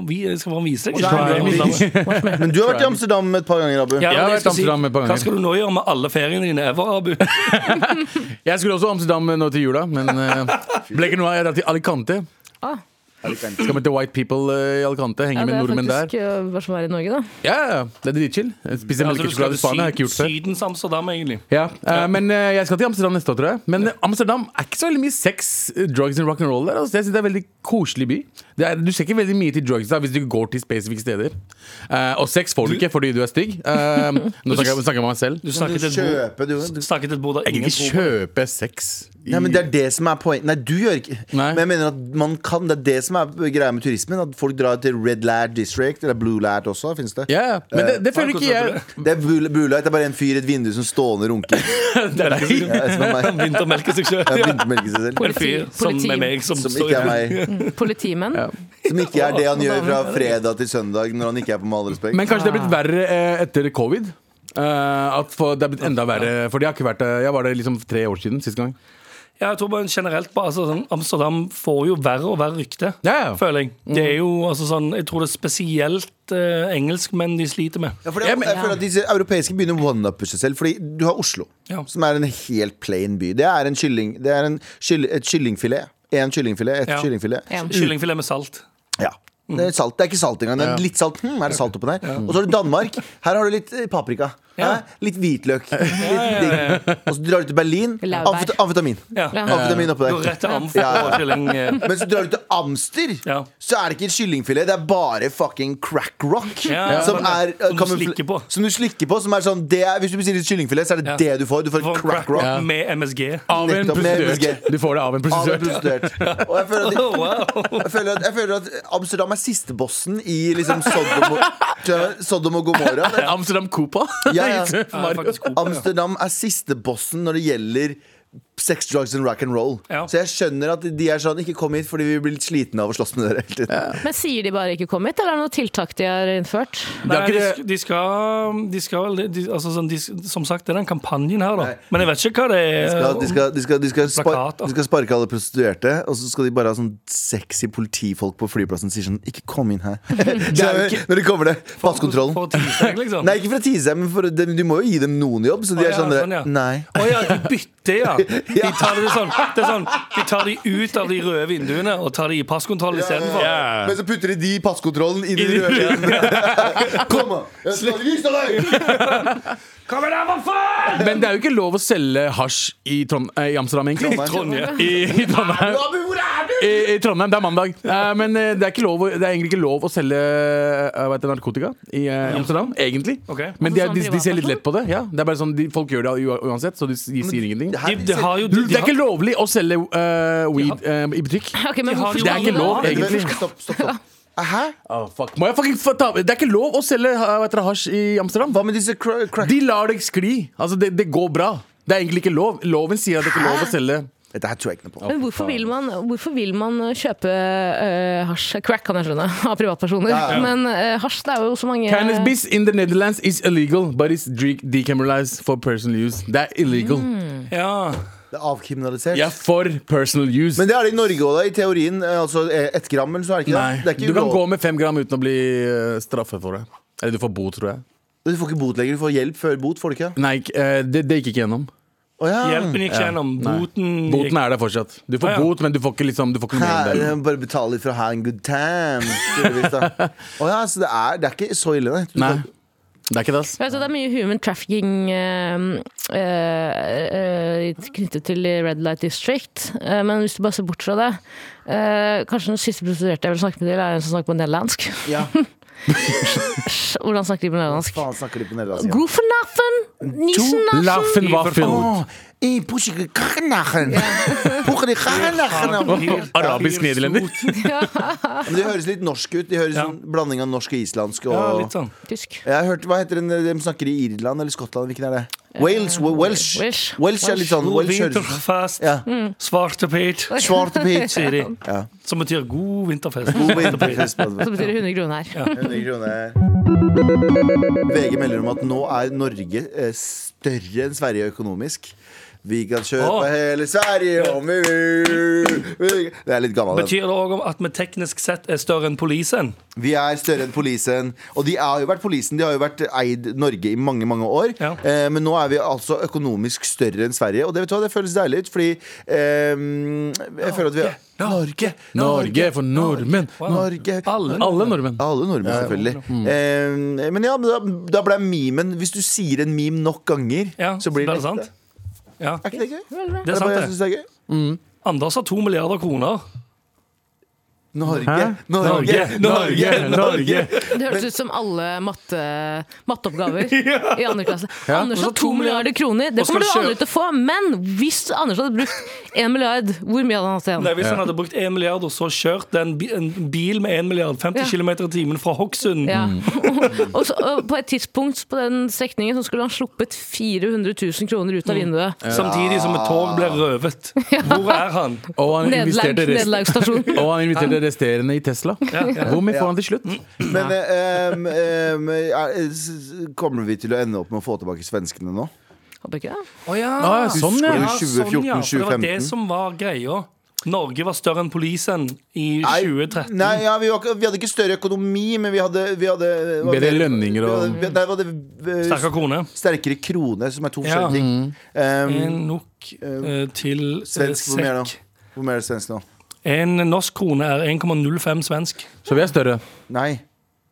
Vi jeg skal bare vise deg.
Try me.
Amsterdam.
Men du har vært i Amsterdam et par ganger, Abu.
Ja,
Jeg har vært i
det skal jeg si.
Amsterdam et par
Hva
ganger.
skal du nå gjøre med alle feriene dine ever, Abu?
Jeg skulle også til Amsterdam nå til jula, men eh, ble ikke noe av. Jeg drar til Alicante.
Ah.
Skal med til White People eh, i Alicante. Henge
Ja, det
med
er
nordmenn
faktisk
der.
uh, hva som er i Norge, da.
Ja, ja, det er dritchill. Jeg Spiser
Altså, du skal
melkesjokolade i Spania. Har ikke
til
gjort før.
Syd- Sydens Amsterdam, egentlig.
Ja, eh, Men eh, jeg skal til Amsterdam neste år, tror jeg. Men eh, Amsterdam er ikke så veldig mye sex, eh, drugs and rock'n'roll der. Altså, jeg synes Det er en veldig koselig by. Det er, du ser ikke veldig mye til drugs da hvis du ikke går til spesifikke steder. Eh, og sex får du ikke fordi du er stygg. Eh, nå snakker jeg, snakker jeg med meg selv.
Du
Kan
snakket
du
et bord,
kjøpe, du. du.
snakket et bord der
Jeg kan
ingen
ikke
tror.
kjøpe sex. i-
Nei, men Det er det som er poenget. Nei, du gjør ikke
Nei.
Men jeg mener at man kan. Det er det som er greia med turismen. At folk drar til Red Lad District, eller Blue Lad også, finnes det.
Ja, ja, men det, det føler
Markus,
ikke jeg.
hørte
Det er Blue, Blue Light, det er bare en fyr i et vindu som stående runker.
Det er deg.
Ja, som er sånn- meg.
Vintermelke seg
Jeg
sjøl.
har begynt å melke seg selv.
En fyr som
Politi.
er meg, som,
Som
står
ikke er
i-
meg.
Politimenn.
Ja.
Som ikke er det han gjør fra fredag til søndag når han ikke er på Med all respekt.
Men kanskje det er blitt verre eh, etter covid? Eh, at for, det er blitt enda verre. For jeg har ikke vært der. Jeg var der liksom for tre år siden sist gang.
Ja, jeg tror bare generelt bare, altså, sånn, Amsterdam får jo verre og verre rykte,
Ja, Mm. ja.
føler jeg. Det er jo altså, sånn, Jeg tror det er spesielt eh, engelskmenn de sliter med.
Ja, for det, er- jeg føler at disse europeiske begynner å one-uppe seg selv. Fordi du har Oslo,
Ja.
som er en helt plain by. Det er, en kylling, det er en kyll, et kyllingfilet. Én kyllingfilet, ett
Ja.
kyllingfilet.
En.
Kyllingfilet med salt.
Ja. Det er, salt. det er ikke salt engang. Det er litt salt. Hm, er det salt oppi der? Og så har du Danmark. Her har du litt eh, paprika. Hæ?
Ja.
Litt hvitløk. Litt digg. Og så drar du til Berlin.
Laurbær.
Amfet amfetamin.
Ja.
Ja.
Amfetamin oppi
Går
der.
rett til amf
Ja, ja,
og kylling. eh.
Men så drar du til Amster,
Ja.
så er det ikke et kyllingfilet. Det er bare fucking crack rock.
Ja, ja,
som,
sånn,
er,
som du
kamufle-
slikker på.
Som du slikker på. Som er sånn, det er, hvis du bestiller et kyllingfilet, så er det
Ja.
det du får. Du får,
Du får en
crack rock.
rock med MSG.
Av en
Nettopp, med
prostituert.
MSG.
Du får det
Av
av en
en
prostituert.
prostituert. Og jeg føler, at
Oh, wow.
jeg, føler at, jeg føler at Amsterdam er sistebossen i liksom Sodom og, Sodom og Gomorra. Det-
Amsterdam Copa.
Ja, ja.
Mario.
Ja, faktisk god.
Amsterdam er sistebossen når det gjelder sex, drugs and rock and roll.
Ja.
Så jeg skjønner at de er sånn Ikke kom hit fordi vi blir litt slitne av å slåss med dere hele tiden.
Men sier de bare 'ikke kom hit', eller er det noe tiltak de har innført?
Nei,
ikke
de,
det-
sk- de skal, um, de skal vel de, altså, sånn, de, Som sagt, det er den kampanjen her, da.
Nei.
Men jeg vet ikke hva det er.
Ja, de, skal, de, skal, de, skal spar,
Eh, Plakat, da.
de skal sparke alle prostituerte, og så skal de bare ha sånn sexy politifolk på flyplassen som sier sånn Ikke kom inn her. Så
er jo
når de kommer det, passkontrollen.
For å tease deg, liksom.
Nei, ikke for å tease deg, men for, de, du må jo gi dem noen jobb. Så de
Å,
er
ja,
sånn, dere,
sånn, ja.
Nei.
Å ja, de bytter, ja. De tar det sånn, det er sånn De tar de ut av de røde vinduene og tar de i passkontroll istedenfor.
Ja.
Men så putter de de i passkontrollen inn i
I de
de røde. Kom, da! Jeg skal vise deg!
Kommer der, hva faen?!
Men det er jo ikke lov å selge hasj i, Trond eh, i Amsterdam, egentlig.
Trondheim.
I, i Trondheim.
Abu, hvor er du?
I, I Trondheim, det er mandag. Eh, men eh, det er, ikke lov, å- det er egentlig ikke lov å selge eh, hva heter det, narkotika i eh, Amsterdam. Egentlig.
Ok.
Men de, er,
Altså
de,
sånn
de ser litt lett på det. Ja. Det er bare sånn, de, Folk gjør det u- uansett, så de, s- de sier ingenting.
De, de har jo
Du,
de,
Det er
har,
ikke lovlig å selge eh, weed eh, i butikk.
Ok, men
De har
hvorfor
jo
Det er ikke lov,
det?
egentlig.
Stopp, stopp, stopp. Hæ?
Ah,
Må jeg fucking få ta, det er ikke lov å selge eh, hva heter det, hasj i Amsterdam.
Hva med disse cra- crack...
De lar deg skli. Altså, det, det går bra. Det er egentlig ikke lov. Loven sier at det ikke er lov å selge.
Dette her tror jeg ikke noe på.
Men hvorfor vil man, hvorfor vil man eh, kjøpe øh, hasj? Crack kan jeg skjønne, av privatpersoner. Men øh, hasj, det er jo så mange
Cannabis in the Netherlands is illegal, but it's drink decriminalized for personal use. Det er illegal.
ja.
Det er avkriminalisert.
Jeg er for personal use.
Men det er det i Norge òg, i teorien. eh, Altså eh, ett gram, eller så er det ikke
Nei,
det. det er ikke
du kan
ulov-
gå med fem gram uten å bli eh, straffet for det. Eller du får bot, tror jeg.
Du får ikke bot lenger. Du får hjelp før bot, får du ikke?
Nei, ikke- eh, det, det gikk ikke gjennom.
Å ja.
Hjelpen gikk ikke gjennom.
Nei.
Boten
Mm.
gikk
Boten er der fortsatt. Du får
Ah, ja.
bot, men du får ikke liksom, du får ikke noe
Hæ,
mer
jeg
enn det.
må eh, bare betale litt for å ha en good time. tydeligvis, da. Å ja, så det er, det er ikke så ille, nei. Du
Nei,
kan-
det er ikke det, ass.
Vet du, det er mye human trafficking øh, øh, øh, knyttet til i Red Light District. Eh, men hvis du bare ser bort fra det eh, Kanskje den siste prostituerte jeg vil snakke med, til, er en som snakker på nederlandsk.
Ja.
Hvordan snakker de på nederlandsk?
Faen, snakker de på nederlandsk?
Good for nothing! Nissen
Laffen vaffen.
I pusher i kranachen. Pusher i kranachen.
helt-
Arabisk nederlender.
Men De høres litt norsk ut. De høres
Ja.
sånn blanding av norsk og islandsk. Og...
Ja, litt sånn.
Tysk.
Jeg har hørt, hva heter den de snakker i Irland eller Skottland? Hvilken er det?
Eh,
Wales? Wa- Welsh.
Welsh.
Welsh er litt sånn
God
Welsh høres
vinterfest,
Ja.
svarte Pete,
Svarte peach.
sier de.
Ja.
Som betyr god vinterfest.
God vinterfest.
Så betyr det 100 kroner her.
VG melder om at nå er Norge eh, større enn Sverige økonomisk. Vi kan kjøpe
Åh.
hele Sverige om vi vil. Vi- Det er litt gammel. den.
Betyr det òg at vi teknisk sett er større enn polisen?
Vi er større enn polisen. Og de har jo vært polisen. De har jo vært eid Norge i mange mange år.
Ja.
Eh, men nå er vi altså økonomisk større enn Sverige. Og det, vet du, hva, det føles deilig ut, fordi eh, jeg føler at vi
Norge!
Norge for nordmenn.
Norge
Alle.
Alle nordmenn.
Alle nordmenn, selvfølgelig. Eh, men ja, men da, da ble memen Hvis du sier en meme nok ganger,
Ja,
så blir
det
det
er sant. Ja,
Er ikke det gøy? Det
det er
er bare jeg
sant,
synes
det.
det er gøy.
Anders har to milliarder kroner.
Norge,
Hæ?
Norge, Norge, Norge.
Det hørtes ut som alle matte, matteoppgaver i andre klasse. Anders har
Og så
to
to
milliarder kroner, det
Og
kommer du
skal
aldri
kjøpe-
til å få. Men hvis Anders hadde brukt én milliard, hvor mye hadde han hatt
Nei,
igjen?
Hvis han hadde brukt 1 milliard og så kjørt en, bi en bil med 1 milliard 50
Ja.
km i timen fra Hokksund
Ja.
Mm.
og så, og på et tidspunkt på den strekningen så skulle han sluppet 400 000 kroner
Mm.
ut av vinduet.
Samtidig som et tog ble røvet. Hvor er han?
Og han
Nederlag-
investerte resten.
Nederlagsstasjon.
Og han inviterte resterende i Tesla. Hvor mye får han til slutt?
Mm.
Men eh, em, em, er- eh, s- s- kommer vi til å ende opp med å få tilbake svenskene nå?
Håper ikke det.
Å ja.
Ah, ja, sånn, ja.
Husker
sånn, ja.
2014,
For det var det
2015.
som var greia. Norge var større enn polisen i
Nei,
2013.
Nei, ja, vi, var, ikke- vi hadde ikke større økonomi, men vi hadde, vi hadde hva-
Bedre lønninger
vi
og
hadde, vi- Nei, vi hadde eh,
Sterkere krone.
sterkere krone, som er to
Ja. Mm.
forskjellige ting. Em,
En nok eh, til eh,
Mm. svensk, hvor mer da?
sekk.
Hvor mer er det svensk nå?
En norsk krone er 1,05 svensk.
Så vi er større.
Nei.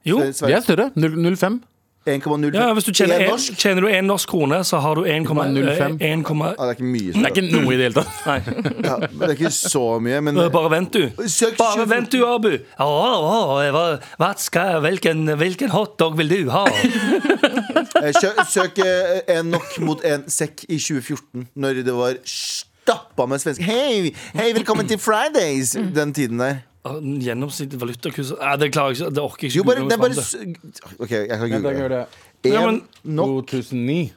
Jo.
Sve- Sverige-
Vi er større. 0- 0,5.
1,05
Ja, hvis du tjener,
En
en,
norsk
tjener du en eh, norsk krone, så har du 1,05.
1,05.
ja, Det er ikke mye
Det er
så.
ikke noe i det hele tatt.
Nei,
Ja, men det er ikke så mye Men
Eh, bare vent, du.
Søk
Bare
2014.
vent, du, Abu. Å, å, hva- hva skal, hvilken, hvilken hotdog vil du ha?
eh, sø- Søk eh, en nok mot en sekk i 2014 Når det var stappa med svensk Hei, hei, velkommen til Fridays Den tiden der
Gjennomsnittlig valutakurs Nei, Det klarer jeg ikke. Det orker jeg ikke.
Jo, bare,
google
det er
meg
bare
fram til.
sø- Ok, jeg kan google det
det.
Ja,
En
men-
nok
2009.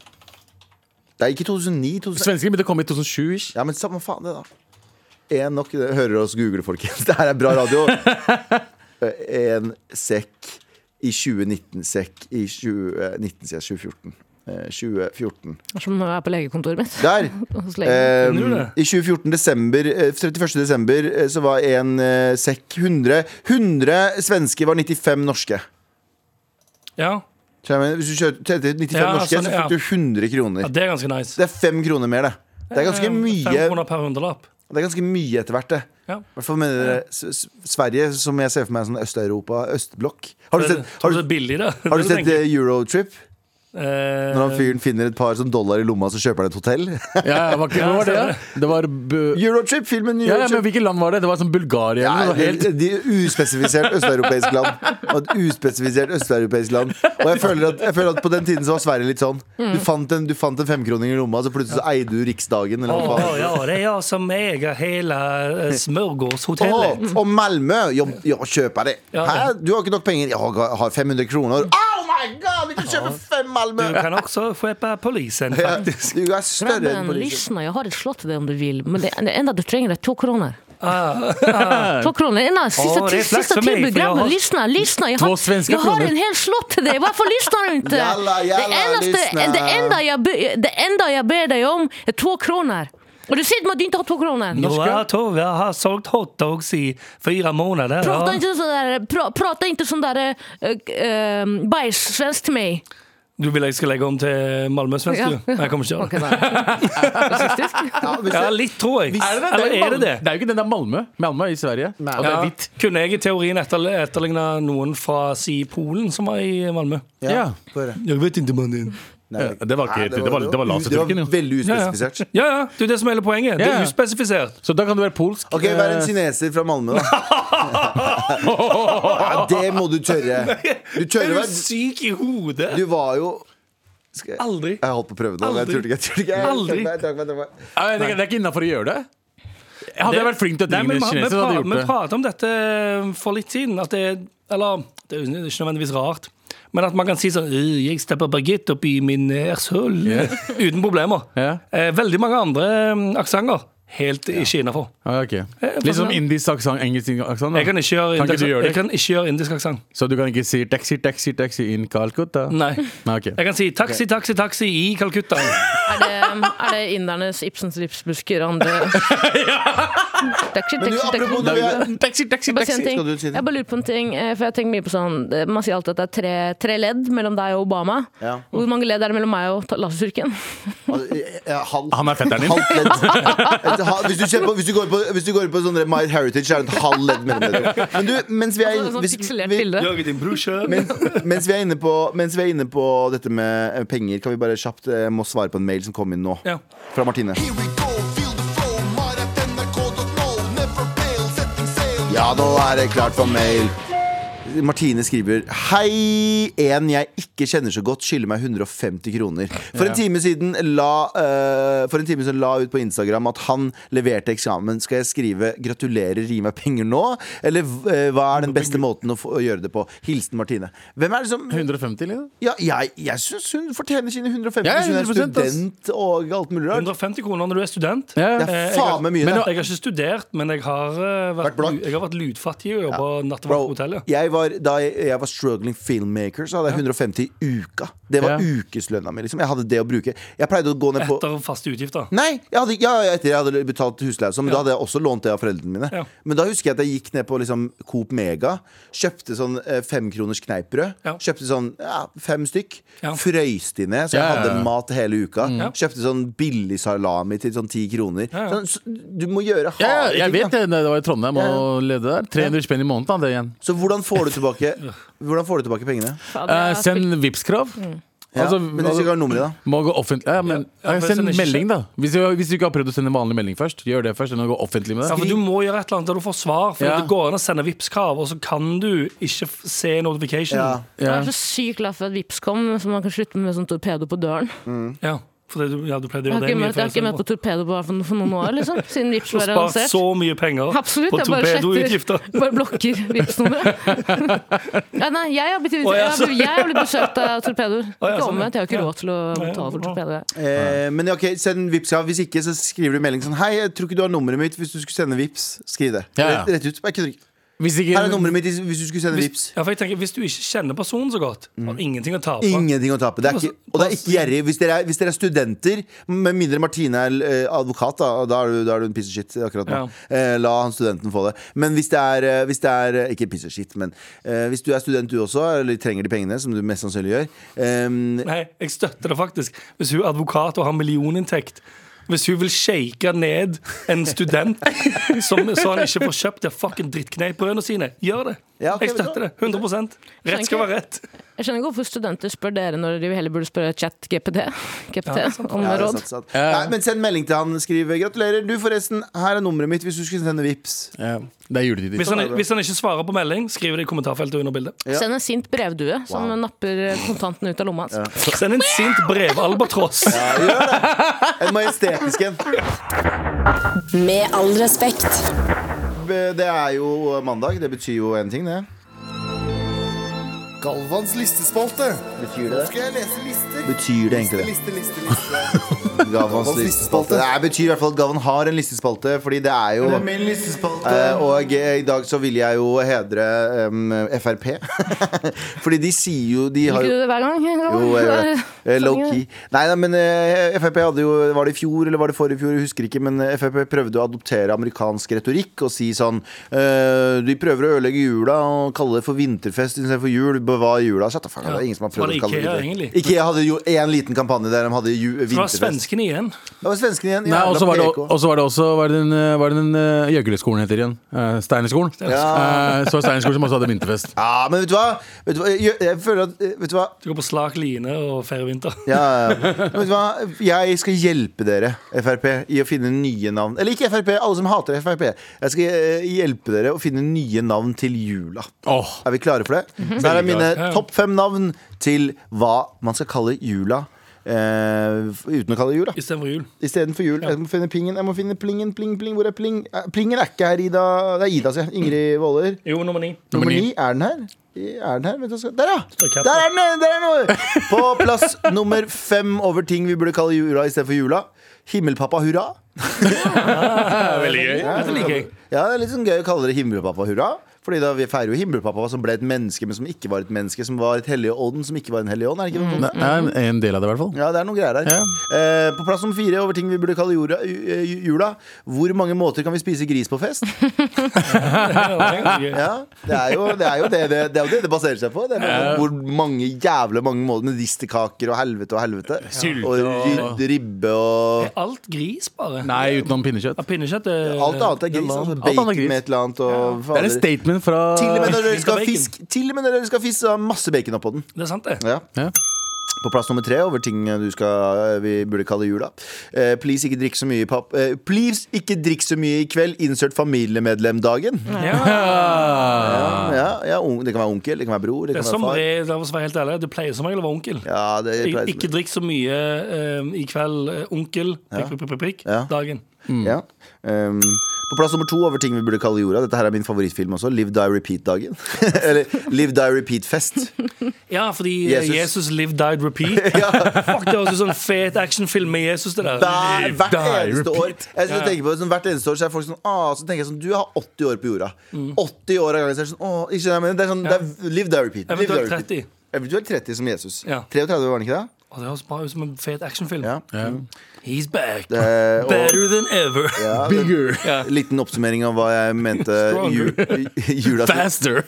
Det er ikke 2009. 2000.
Svenskene begynte å komme i 2007-ish.
Ja, men samme faen det, da. En nok det. Hører oss google, folkens. Det her er bra radio. Eh, En sekk i 2019. Sekk i 2019, sier jeg. 2014. Eh, 2014.
Det er som når jeg er på legekontoret mitt.
Der!
Hos legen.
Eh,
Finner du det?
I 2014 desember, eh, 31. desember eh, så var en eh, sekk 100. 100 svenske var 95 norske.
Ja.
Så jeg mener, Hvis du kjører- telte 95
Ja,
norske,
sånn,
så
ja.
fikk du 100 kroner.
ja, Eh, det er ganske nice.
Det er fem kroner mer, det. Det er ganske mye,
500 per hundrelapp.
det er ganske mye etter hvert, det.
Ja.
I hvert fall med dere, S- S- Sverige, som jeg ser for meg er sånn Øst-Europa, østblokk. Har du
Det-
sett, har
det
du,
er billig, altså, det.
har du sett eh, Eurotrip?
Eh,
Når han fyren finner et par sånn dollar i lomma, så kjøper han et hotell?
Ja, var ikke, hva var det? da? Det var bu
Eurotrip, filmen
ja, ja, men
Eurotrip!
Hvilket land var det? Det var sånn Bulgaria
Nei,
eller noe helt
de, de uspesifisert østeuropeisk land. Og et uspesifisert østeuropeisk land. Og jeg føler, at, jeg føler at på den tiden så var Sverige litt sånn.
Mm.
Du fant en, du fant en femkroning i lomma, så plutselig så eide du Riksdagen. Eller hva
Åh,
faen.
ja, det er jeg som eier hele eh, smørgårdshotellet.
Åh, og Malmö, jeg, jeg kjøper det.
Ja, Mm. det.
Hæ? Du har ikke nok penger. Jeg har, har 500 kroner. Oh my god, vi kan kjøpe fem Malmö!
Du kan også kjøpe polisen.
Ja,
Ja.
Du er større enn
Grabben,
polisen.
lyssna, jag har ett slott till dig om du vill. Men det, det enda du trenger är två kronor.
Ah,
Två kronor, ena, sista,
det är
till,
slags
sista
för mig,
tillbud.
för jag
Grabben,
har-
lyssna, lyssna. Jag
Två
har,
svenska
jag har
kronor.
en hel slott till dig. Varför lyssnar du inte?
Jalla, jalla,
det,
lyssna.
endaste, det, enda jag, be- det enda jag ber dig om är två kronor. Och du säger till mig att du inte har två kronor.
Noa Tove har solgt hotdogs i fyra månader.
Prata,
Ja.
inte sådär, pra, prata inte sån där äh, äh, bajssvensk till mig.
Du vil jeg skal legge om til malmøsvensk,
Ja.
du? Nei, Jeg kommer ikke til å gjøre det.
Ja, hvis
Ja,
det-
litt, tror jeg.
Er det det?
Eller
Det er jo
er det
Malmö.
det?
Det er jo ikke den der Malmö. Malmö er i Sverige. Og det
Ja.
er hvitt.
Kunne jeg i teorien etterle- etterligne noen fra si Polen som var i Malmø?
Ja.
Få høre.
Jeg vet ikke, mannen.
Nei,
Ja, det var ikke
Nei,
helt- det var- det var laserturken, jo.
Det var veldig
Ja, ja.
uspesifisert.
ja, ja. Det er det som er hele poenget. Det
Ja,
er
ja.
uspesifisert.
Så da kan du være polsk.
Ok, vær en
eh,
kineser fra Malmö, da. Ja, det må du tørre. Du
Er
tørre
du
å være
syk i hodet?
Du var jo Skal jeg-
Aldri.
Jeg holdt på å prøve det, men jeg
Aldri.
turte ikke. Jeg turte ikke. Jeg-
Aldri.
Nei, takk, takk, takk.
Nei, Eh, det, det er ikke innafor å gjøre det. Hadde jeg vært flink til å
Nei,
drive med
men vi-
kineser, så hadde jeg
Vi
gjort det.
prata om dette eh, for litt siden. At det, eller det er jo ikke nødvendigvis rart, men at man kan si sånn «Øh, 'Jeg stepper Birgitte opp i min ershøl' uten problemer.
Ja.
Eh, Veldig mange andre mm, aksenter helt ikke innafor.
Ja, ok. Litt sånn indisk aksent, engelsk aksent. da.
Eh, altså- Jeg kan ikke gjøre
Kan ikke
indisk,
du gjøre det?
jeg kan ikke gjøre indisk aksent.
Så du kan ikke si taxi, taxi, taxi in Calcutta?
Nei.
Nei, ok.
Jeg kan si 'taxi, taxi, taxi i Calcutta'.
Er det, er det indernes Ibsens livsbusker og andre Taxi,
Men du,
taxi, taxi.
apropos når vi er
Taxi, taxi,
Jeg bare, sier en
taxi.
Skal du si det?
ting. jeg bare lurer på en ting, eh, for jeg tenker mye på sånn eh, Man sier alltid at det er tre, tre ledd mellom deg og Obama.
Ja.
Hvor mange ledd er det mellom meg og ta- laserturken?
ja, halv-
Han er fetteren din.
halvt ledd. Et halv- Hvis du, ser på, hvis du går på, hvis du går på sånne My Heritage, så er det et halvt ledd mellom dere. Men du, mens vi er
Altså, sånn
hvis-
pikselert
vi-
bilde.
Jage din brorsa.
men, mens, vi er inne på, mens vi er inne på dette med eh, penger, kan vi bare kjapt eh, må svare på en mail som kom inn nå.
Ja.
Fra Martine. Ja, nå er det klart for mail. Martine skriver Hei, en jeg ikke kjenner så godt skylder meg 150 kroner For en time siden la eh, For en time siden la ut på Instagram At han leverte eksamen Skal jeg skrive gratulerer, gi meg penger nå Eller eh, hva er den beste måten å, få, å gjøre det på Hilsen Martine Hvem er det som
150, liksom?
ja, jeg, jeg syns hun fortjener sine 150
Ja,
hvis hun er
100%, ass.
student og alt mulig rart.
150 kroner når du er student.
Ja.
Det
Eh,
er
jeg
faen
har-
meg mye,
Men
det.
Jeg har ikke studert, men jeg har eh,
Vært
vært,
blakk.
lu- jeg har vært ludfattig og jobba nattevakt på
Bro,
hotellet.
jeg var, da jeg, jeg var struggling filmmaker, så hadde jeg 150 i uka. Det var
Ja.
ukeslønna mi. Liksom. Jeg hadde det å bruke. Jeg pleide å gå ned på
Etter faste utgifter.
Nei, jeg hadde, ja, ja, etter jeg hadde betalt husleie, og sånn, men da hadde jeg også lånt det av foreldrene mine.
Ja.
Men da husker jeg at jeg gikk ned på liksom, Coop Mega, kjøpte sånn eh, femkroners kneippbrød.
Ja.
Kjøpte sånn ja, fem stykk.
Ja. Mm.
Frøys de ned, så jeg
Ja, ja,
hadde
ja.
mat hele uka.
Ja.
Kjøpte sånn billig salami til sånn ti kroner.
Ja, ja.
Sånn, så, du må gjøre harde
Ja, ja,
ting,
jeg
da.
vet det. Det var i Trondheim og lede der. 300 spenn i måneden hadde jeg igjen.
Så hvordan får du tilbake, hvordan får du tilbake pengene?
Faen, jeg
Eh,
har spilt-
send Vipps-krav.
Ja.
Altså,
men hvis du ikke har nummeret, da?
Må gå offentlig ja, men,
Ja, ja, for
Send
jeg sender ikke
melding, da. Hvis du, hvis du ikke har prøvd å sende vanlig melding først, gjør det først. Enn å gå offentlig med
Ja,
det.
for du må gjøre et eller annet der du får svar. For
Ja.
Det går an å sende Vipps-krav, og så kan du ikke f- se notification.
Ja.
Ja.
Jeg
Ja.
er så sykt glad for at Vips kom, så man kan slutte med sånn torpedo på døren.
Ja. For det, du- ja, du pleidde å gjøre det
Jeg har ikke
mye
møtt, jeg har ikke
før.
møtt på torpedo på, for, for noen år, liksom, siden Vipps
Du har
var
spart
annonsert.
så mye penger
Absolutt.
på
Jeg bare sletter
torpedoutgifter.
Bare blokker Vipps-nummeret. ja, nei, jeg har blitt,
Å, ja,
jeg har, jeg har blitt besøkt av torpedoer.
Å, ja,
Ikke
sånn,
omvendt, jeg har ikke
ja.
råd til å
Nei,
betale for
bra.
torpedoer.
Eh, men ok, send vips ja. Hvis ikke, så skriver du melding sånn Hei, jeg tror ikke du har nummeret mitt hvis du skulle sende vips Skriv det.
Ja, ja.
Rett, rett ut. Bare ikke trykk.
Hvis ikke
Her er nummeret mitt hvis hvis du skulle sende vips
Ja, for jeg tenker, Hvis du ikke kjenner personen så godt,
Mm.
har du ingenting å tape.
Ingenting å tape. Det er ikke, og det er ikke gjerrig. Hvis dere er, hvis dere er studenter, med mindre Martine er eh, advokat, da, da, er du, da er du en piece of shit akkurat nå. Eh, la han studenten få det. Men hvis det er, eh, hvis det er eh, Ikke piece of shit, men eh, hvis du er student du også, eller trenger de pengene, som du mest sannsynlig gjør eh,
Nei, jeg støtter det faktisk. Hvis hun er advokat og har millioninntekt hvis hun vil shake ned en student som, så han ikke får kjøpt de fucking drittkneippbrødene sine, gjør det.
Ja, ok,
jeg støtter det. 100 Rett skal være rett.
Jeg skjønner ikke hvorfor studenter spør dere når de heller burde spørre ChatGPT GPT, om
ja, det er
råd.
sant, sant. Nei, men send melding til han. Skriv eh, 'Gratulerer, du forresten. Her er nummeret mitt hvis du skulle sende vips
ja, Det er juletider.
Hvis han, hvis han ikke svarer på melding, skriver det i kommentarfeltet under bildet.
Ja.
Send en sint brevdue som napper kontantene ut av lomma hans.
Send en sint brevalbatross.
En majestetisk en.
Med all respekt.
Det er jo mandag. Det betyr jo en ting, det.
Galvans listespalte.
Betyr
Nå skal jeg lese lister.
Betyr det egentlig
Liste,
det?
liste, liste, liste.
Gavans listespalte. Det betyr i hvert fall at Gavan har en listespalte, fordi det er jo
min listespalte.
Eh, og eh, i dag så vil jeg jo hedre em, Frp. Fordi de sier jo De har
Liker
jo
du det hver gang?
jo, jeg gjør det. Eh, Low
Sånn, ja.
key. Nei, nei, men eh, Frp hadde jo Var det i fjor eller var det forrige fjor? Jeg husker ikke. Men eh, Frp prøvde å adoptere amerikansk retorikk og si sånn eh, De prøver å ødelegge jula og kalle det for vinterfest istedenfor jul. Bevar jula. Shut the fuck up. Det er ingen som har prøvd
Var det
å kalle det
Ikea,
vinter-
egentlig?
Ikea hadde jo én liten kampanje der de hadde ju
Det var
vinterfest.
svenskene igjen.
Det var svenskene igjen.
Nei,
jævla
og så var, det-
PK.
og så var det også Hva er det den, eh, hva er det den eh, Gjøgeleskolen heter igjen? Uh, Steinerskolen. Eh, så var det Steinerskolen som også hadde vinterfest.
Ja, men vet du hva? Vet du hva? Jeg, jeg føler at eh, Vet du hva?
Du går på slak line og feirer vinter.
Ja, ja. Men vet du hva? Jeg skal hjelpe dere, Frp, i å finne nye navn. Eller ikke Frp, alle som hater Frp. Jeg skal eh, hjelpe dere å finne nye navn til jula.
Åh, Mhm.
Er vi klare for det? Så her er mine topp fem navn til hva man skal kalle jula. eh, f- uten å kalle det jul, da.
Istedenfor jul.
Istedenfor jul. Jeg må finne pingen. Jeg må finne plingen, pling, pling. Hvor er pling? Eh, Plingen er ikke her, Ida. Det er Ida, sier jeg. Ingrid Våler.
Jo, nummer ni.
Nummer
Nummer
ni, er den her? Er den her? Vent, jeg skal- Der, ja!
Står kapp,
Der er den! eh, Der er den! På plass nummer fem over ting vi burde kalle jula istedenfor jula. Himmelpappa hurra.
Veldig gøy. Dette liker jeg.
Ja, Det er litt sånn gøy å kalle det himmelpappa hurra. Fordi da Vi feirer jo himmelpappa som ble et menneske, men som ikke var et menneske. Som var et hellig ånd, som ikke var en hellig ånd. Er det ikke noe sånt?
det er en- Eh, en del av det, i hvert fall.
Mm. Ja, det er noen greier der. Eh, på plass nummer fire over ting vi burde kalle jorda, ju- eh, ju- jula. Hvor mange måter kan vi spise gris på fest?
Ja,
Ja, det er jo det er jo det, det, det, er jo det, det baserer seg på. Det er bare hvor mange jævla mange mål medisterkaker og helvete og helvete.
Sylte
og
og-
ry- ribbe og
Alt gris, bare.
Nei, utenom pinnekjøtt.
Ja, Pinnekjøtt eh, er
Alt annet er gris.
det
Altså,
Alt annet
lam.
er
bacon
gris.
med et eller annet. Og
Det er en
fader.
statement fra
til og med når dere skal ha
Bacon.
fisk, til og med når dere skal ha fisk, så har masse bacon oppå den.
Det er sant, det.
Ja.
Ja.
På plass nummer tre over ting du skal, vi burde kalle jula. Eh, please ikke drikk så mye papp... eh, please ikke drikk så mye i kveld. Insert familiemedlemdagen.
Ja,
Ja.
Ja, ja, on- det kan være onkel, det kan være bror, det
det, er
kan
som
være far.
regel, la oss være helt ærlig, det pleier som regel å være onkel.
Ja, det
Ik
pleier som-
ikke drikk så mye eh, i kveld, eh, onkel, prikk, prikk, prikk, prikk,
Ja.
dagen.
Ja. Ehm, på plass nummer to over ting vi burde kalle jorda. Dette her er min favorittfilm også. Live Die Repeat-dagen. Eller Live Die Repeat-fest.
Ja, fordi eh,
Jesus.
Jesus lived, died, repeat. Fuck, det høres ut som en fet actionfilm med Jesus, det der.
Hver- Hvert
Die
eneste år.
Repeat.
Jeg synes jeg tenker på det, sånn, hvert eneste år så er folk sånn ah, Så tenker jeg sånn Du har 80 år på jorda. 80 år av gangen. Så er det sånn, åh, ikke skjønner jeg, men det er sånn det er, Live Die Repeat. Live, die,
Eventuelt
repeat.
30.
Eventuelt 30 som Jesus.
Ja.
33 var han ikke det?
Å, det høres bare ut som en fet actionfilm.
Ja.
He's back.
Eh, og-
Better than ever.
ja, det-
Bigger.
Liten oppsummering av hva jeg mente ju, jula
Faster.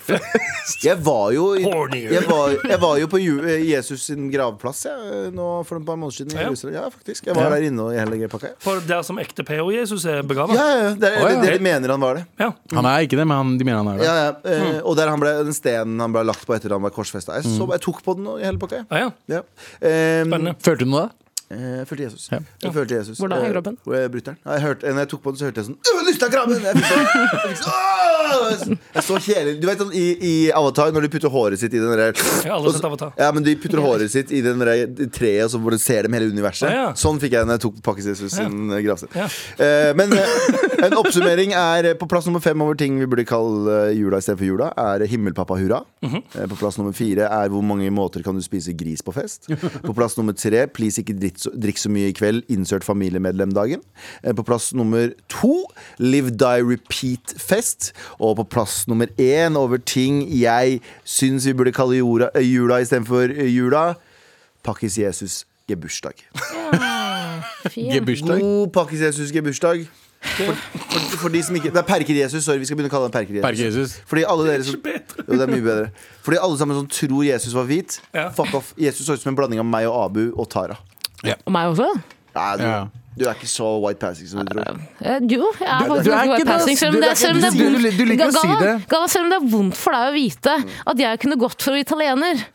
Jeg var jo i-
Hornier.
jeg var, jeg var jo på Ju- eh, Jesus sin gravplass jeg, nå for et par måneder siden. i
Ja.
Jerusalem. Ja, faktisk. Jeg var der inne og i hele greia pakka. jeg.
For der som ekte PH-Jesus er
Ja,
begravet.
ja, ja. Det er
Å, ja.
det de mener han var det.
Ja.
Han er ikke det, men han, de mener han er det.
Ja, ja. Eh, Og der han ble, den stenen han ble lagt på etter han var korsfesta. Jeg, så- jeg tok på den og i hele pakka. jeg.
Ah, ja.
Ja. Eh,
Spennende.
Følte du noe da?
Jeg Eh, følte Jesus.
Ja.
Jeg følte Jesus.
Hvordan er
Eh,
kroppen?
hvor jeg bryter den. Nei, Jeg hørte, når jeg tok på den, så hørte jeg sånn «Øh, Lysta krabben! Jeg fikk sånn- jeg fikk sånn, «Åh!» Jeg så hele Du vet sånn i, i Avatar, når de putter håret sitt i den der
Jeg har aldri sett Avatar.
Ja, men de putter håret sitt i den der treet, og så hvor du ser dem hele universet.
Ja, ja.
Sånn fikk jeg når jeg tok Pakkes Jesus sin eh, gravsted.
Ja.
Eh, men eh, en oppsummering er eh, på plass nummer fem over ting vi burde kalle eh, jula istedenfor jula, er himmelpappa hurra.
Mhm.
Eh, På plass nummer fire er hvor mange måter kan du spise gris på fest. På plass nummer tre please ikke drikk så, drikk så mye i kveld, insert familiemedlemdagen. Eh, På plass nummer to live die repeat-fest. Og på plass nummer én over ting jeg syns vi burde kalle jorda, eh, jula istedenfor eh, jula, Pakkis Jesus gebursdag.
Fint.
Gebursdag.
God Pakkis Jesus gebursdag. For, for, for de som ikke, det er Perker-Jesus. Sorry, vi skal begynne å kalle ham Perker-Jesus.
Perker Jesus.
Fordi alle dere som
bedre.
jo, det er mye bedre Fordi alle sammen som tror Jesus var hvit,
Ja.
fuck off. Jesus så ut som en blanding av meg og Abu og Tara.
Og meg også?
Nei, du,
Ja.
du er ikke så white passing som du tror.
Eh, jo, jeg er
Du-
faktisk
du er
ganske
ikke
white
det,
passing,
ass.
selv om
Du-
det,
det er
selv om det er
ikke- du-
vondt.
du liker å si
Galvan,
det. Mm.
Galvan, selv om det er vondt for deg å vite at jeg kunne gått for å bli italiener.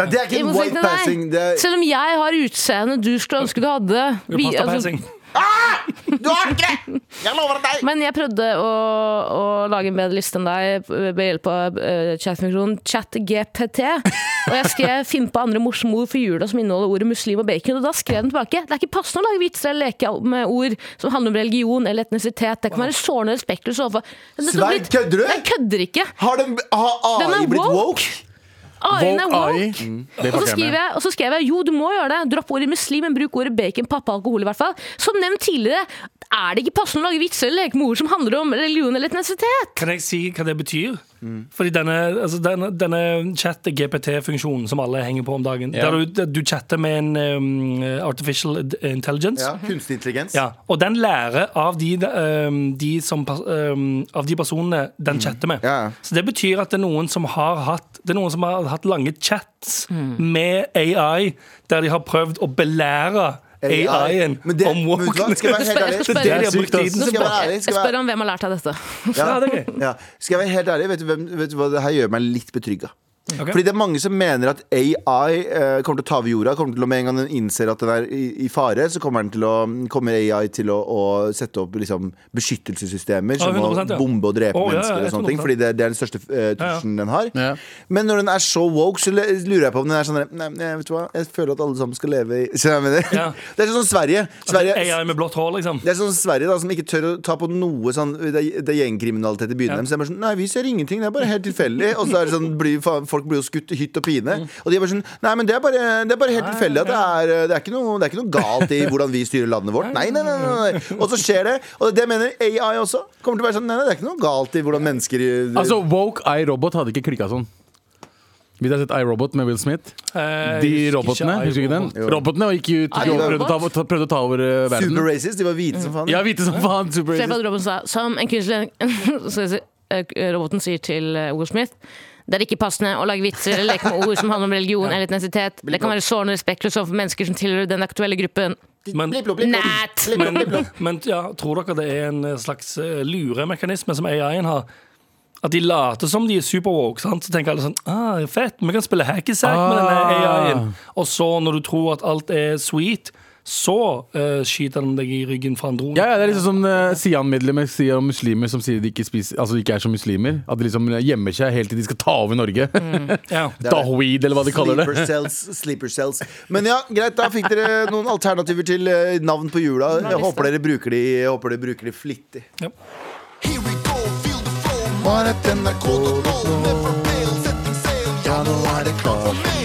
Nei, det er
i
ikke en
motsetning
white
til
passing.
deg.
Det er,
Selv om jeg har utseendet du skulle ønske du hadde. Vi-
Pasta
altså,
passing.
du har ikke det! Jeg lover deg!
Men jeg prøvde å, å lage en bedre liste enn deg ved hjelp av eh, chatfunksjonen ChatGPT. Og jeg skrev 'finn på andre morsomme ord for jula som inneholder ordet muslim og bacon'. Og da skrev den tilbake 'det er ikke passende å lage vitser eller leke med ord som handler om religion eller etnisitet'. Det kan være sårende og respektløst overfor Det er så
Svein,
blitt-
kødder du?
Jeg kødder ikke!
Har, den, har
Den
AI
er
blitt
woke.
woke?
AI-en er
Woke
woke.
AI. Det fucker
Og så,
jeg
skriver
med.
jeg, og så skrev jeg jo, du må gjøre det. Dropp ordet muslim, men bruk ordet bacon, pappa, alkohol i hvert fall. Som nevnt tidligere, er det ikke passende å lage vitser eller leke med ord som handler om religion eller etnisitet.
Kan jeg si hva det betyr? Fordi denne, altså denne, denne chat-GPT-funksjonen som alle henger på om dagen,
Ja.
der du, der du chatter med en um, artificial intelligence,
Ja, Kunstig intelligens.
Ja, og den lærer av de, ehm, de, som, pers- ehm, av de personene den chatter med.
Mm. Ja, ja.
Så det betyr at det er noen som har hatt Det er noen som har hatt lange chats med AI, der de har prøvd å belære AI-en
Men det-
om
men vet du hva? Skal jeg være helt ærlig?
wokeness.
Jeg skal spørre-
Det er det de har
sykt,
brukt
ass.
tiden
Skal jeg
sin på.
være ærlig?
Jeg
Skal jeg være
spør om hvem har lært deg dette.
Ja, det er gøy.
ja. Skal jeg være helt ærlig, vet du, hvem, vet du hva det her gjør meg litt betrygga?
Ok.
Fordi det er mange som mener at AI eh, kommer til å ta over jorda. Kommer til å, Med en gang den innser at den er i, i fare, så kommer, den til å, kommer AI til å, å sette opp liksom, beskyttelsessystemer
Ja,
som å
100%, ja.
bombe og drepe
Å, ja, ja,
mennesker og sånne ting.
100%.
Fordi det, det er den største eh, trusselen den har.
Ja.
Men når den er så woke, så le- lurer jeg på om den er sånn der, Nei, nei, vet du hva, jeg føler at alle sammen skal leve i Skjønner du hva jeg mener?
Ja. Altså,
Det er sånn som Sverige. Sverige
AI med blått hår, liksom.
det er sånn Sverige da, som ikke tør å ta på noe sånn Det er, det er gjengkriminalitet i byen
Ja.
deres. Så det er bare sånn, Nei, vi ser ingenting. Det er bare helt tilfeldig. Og så er det sånn, blir, faen, folk blir jo skutt i hytt og pine. Og de er bare sånn Nei, men det er bare, det er bare helt tilfeldig. At det, er, det, er ikke noe, det er ikke noe galt i hvordan vi styrer landet vårt. Nei, nei, nei. nei, nei. Og så skjer det. Og det mener AI også. Kommer til å være sånn Nei, nei, det er ikke noe galt i hvordan mennesker
Altså, woke iRobot hadde ikke klikka sånn. Vi har sett iRobot med Will Smith.
Eh,
De
jeg husker
robotene,
ikke
husker du ikke den?
iRobot.
Jo.
Robotene og gikk ut og
iRobot?
prøvde å ta, ta, prøvde å ta over eh, verden.
Super racist. De var hvite som faen.
Ja, hvite som faen. Super racist.
Sheffield Robinson sa, som en kunstlending skal jeg si, eh, Roboten sier til eh, Will Smith det er ikke passende å lage vitser eller leke med ord som handler om religion eller etnisitet. Det kan være sårende og respektløst overfor mennesker som tilhører den aktuelle gruppen.
Men,
Blipp, blopp, blipp, blopp.
Nat!
Blipp, blopp, blipp, blopp.
men, men ja, tror dere det er en slags eh, luremekanisme som AI-en har? At de later som de er superwoke, sant? så tenker alle sånn ah, Fett, vi kan spille hackysack med
Ah.
denne AI-en. Og så, når du tror at alt er sweet, så eh, skyter den deg i ryggen fra en drone.
Ja, ja, det er liksom som eh, Sian-medlemmer sier om muslimer som sier de ikke, spiser, altså, de ikke er som muslimer. At de liksom gjemmer seg helt til de skal ta over Norge.
Ja.
Dahweed, eller hva de kaller det.
Mm. Sleeper cells, sleeper cells. Men ja, greit, da fikk dere noen alternativer til eh, navn på jula. Jeg håper dere bruker de, jeg håper dere bruker de flittig.
Here we go, feel the flow. Bare at NRK.no. Never fail, setting sail. Ja, nå er det klart for mer.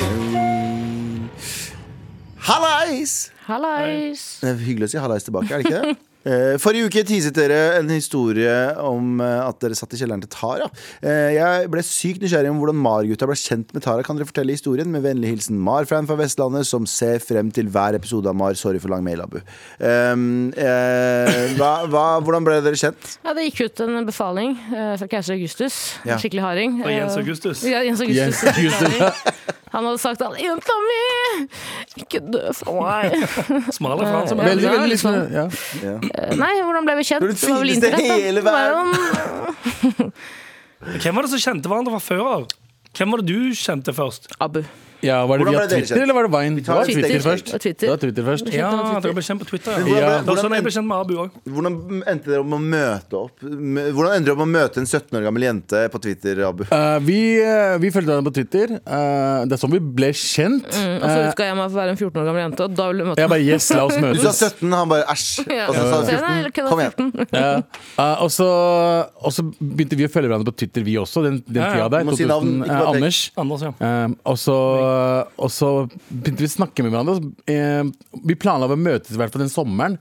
Hallais!
Hallais!
Det er hyggelig å si hallais tilbake, er det ikke det? Eh, Forrige uke teaset dere en historie om eh, at dere satt i kjelleren til Tara. Eh, Jeg ble sykt nysgjerrig om hvordan Mar-gutta ble kjent med Tara. Kan dere fortelle historien? Med vennlig hilsen Mar-fan fra Vestlandet, som ser frem til hver episode av Mar. Sorry for lang mail, Abu. Um, eh, hva, hva, hvordan ble dere kjent?
Ja, det gikk ut en befaling eh, fra keiser Augustus.
Ja.
En skikkelig harding.
Og Jens
Eh,
Augustus.
Ja, Jens Augustus.
Jens Augustus.
Han hadde sagt til alle 'Jenta mi! Ikke dø fra meg'.
Smal er fra han som er.
Veldig,
Ja,
veldig liksom,
liksom.
ja.
Eh, Nei, hvordan ble vi kjent?
Du er den
var vel
fineste i
internett, da.
hele
Det var jo-
Hvem var det som kjente hverandre fra før av? Hvem var det du kjente først?
Abu.
Ja, var det
Hvordan
via
ble dere
Twitter,
kjent?
eller var det Vine? Det
tar
var
Twitter.
Twitter først.
Og Twitter.
Det var Twitter først.
Ja, dere ble kjent på Twitter, ja.
Men hvordan-
Det var sånn
hvordan-
jeg ble kjent med Abu òg.
Hvordan endte dere om å møte opp? M- Hvordan endte dere om å møte en 17 år gammel jente på Twitter, Abu?
Eh, vi, eh, vi fulgte hverandre på Twitter. Eh, det er sånn vi ble kjent.
Mm, Og så
Eh,
utga jeg meg for å være en 14 år gammel jente, og da ville du møte
jeg bare Yes, la oss
Du sa
møtes.
17, han bare æsj.
Ja.
Og så sa du
Se, nei,
14.
kødda,
Kom igjen.
14.
Ja. Eh, og, så, og så begynte vi å følge hverandre på Twitter, vi også, den, den
Ja, ja.
tida der.
Du må si navn, ikke
2000, eh,
bare
Anders.
Anders, ja.
Eh, og, så, og så begynte vi å snakke med hverandre. og så, eh, vi planla å møtes i hvert fall den sommeren,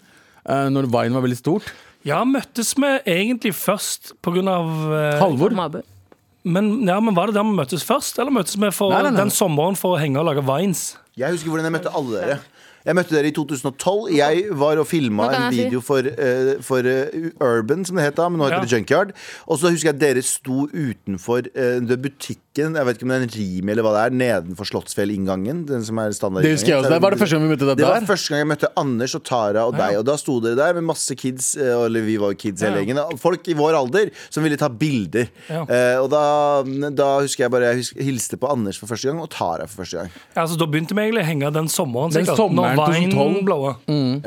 eh, når Vine var veldig stort.
Ja, møttes vi egentlig først pga. eh,
Halvor.
Mabu.
Men, ja, men var det der vi møttes først, eller møttes vi for
Nei, nei, nei.
den sommeren for å henge og lage vines?
Jeg husker hvordan jeg møtte alle dere. Jeg møtte dere i 2012. Jeg var og filma
Nå kan
en
jeg si.
video for, eh, for eh, Urban, som det het da, men nå heter
Ja.
det Junkyard. Og så husker jeg dere sto utenfor eh, den butikken, jeg vet ikke om det er en Rimi eller hva det er, nedenfor Slottsfjellinngangen. Den som er standard
Det husker jeg også. Det var det første gang vi møtte deg
Det var
der.
første gang jeg møtte Anders og Tara og deg. Og da sto dere der med masse kids, eh, eller vi var jo kids hele gjengen, da. folk i vår alder som ville ta bilder.
Ja.
Eh, og da, da husker jeg bare jeg husker, hilste på Anders for første gang, og Tara for første gang.
Ja, altså, da begynte vi egentlig å henge den sommeren,
Den
sikkert.
sommeren
når vinen
2012.
blåa.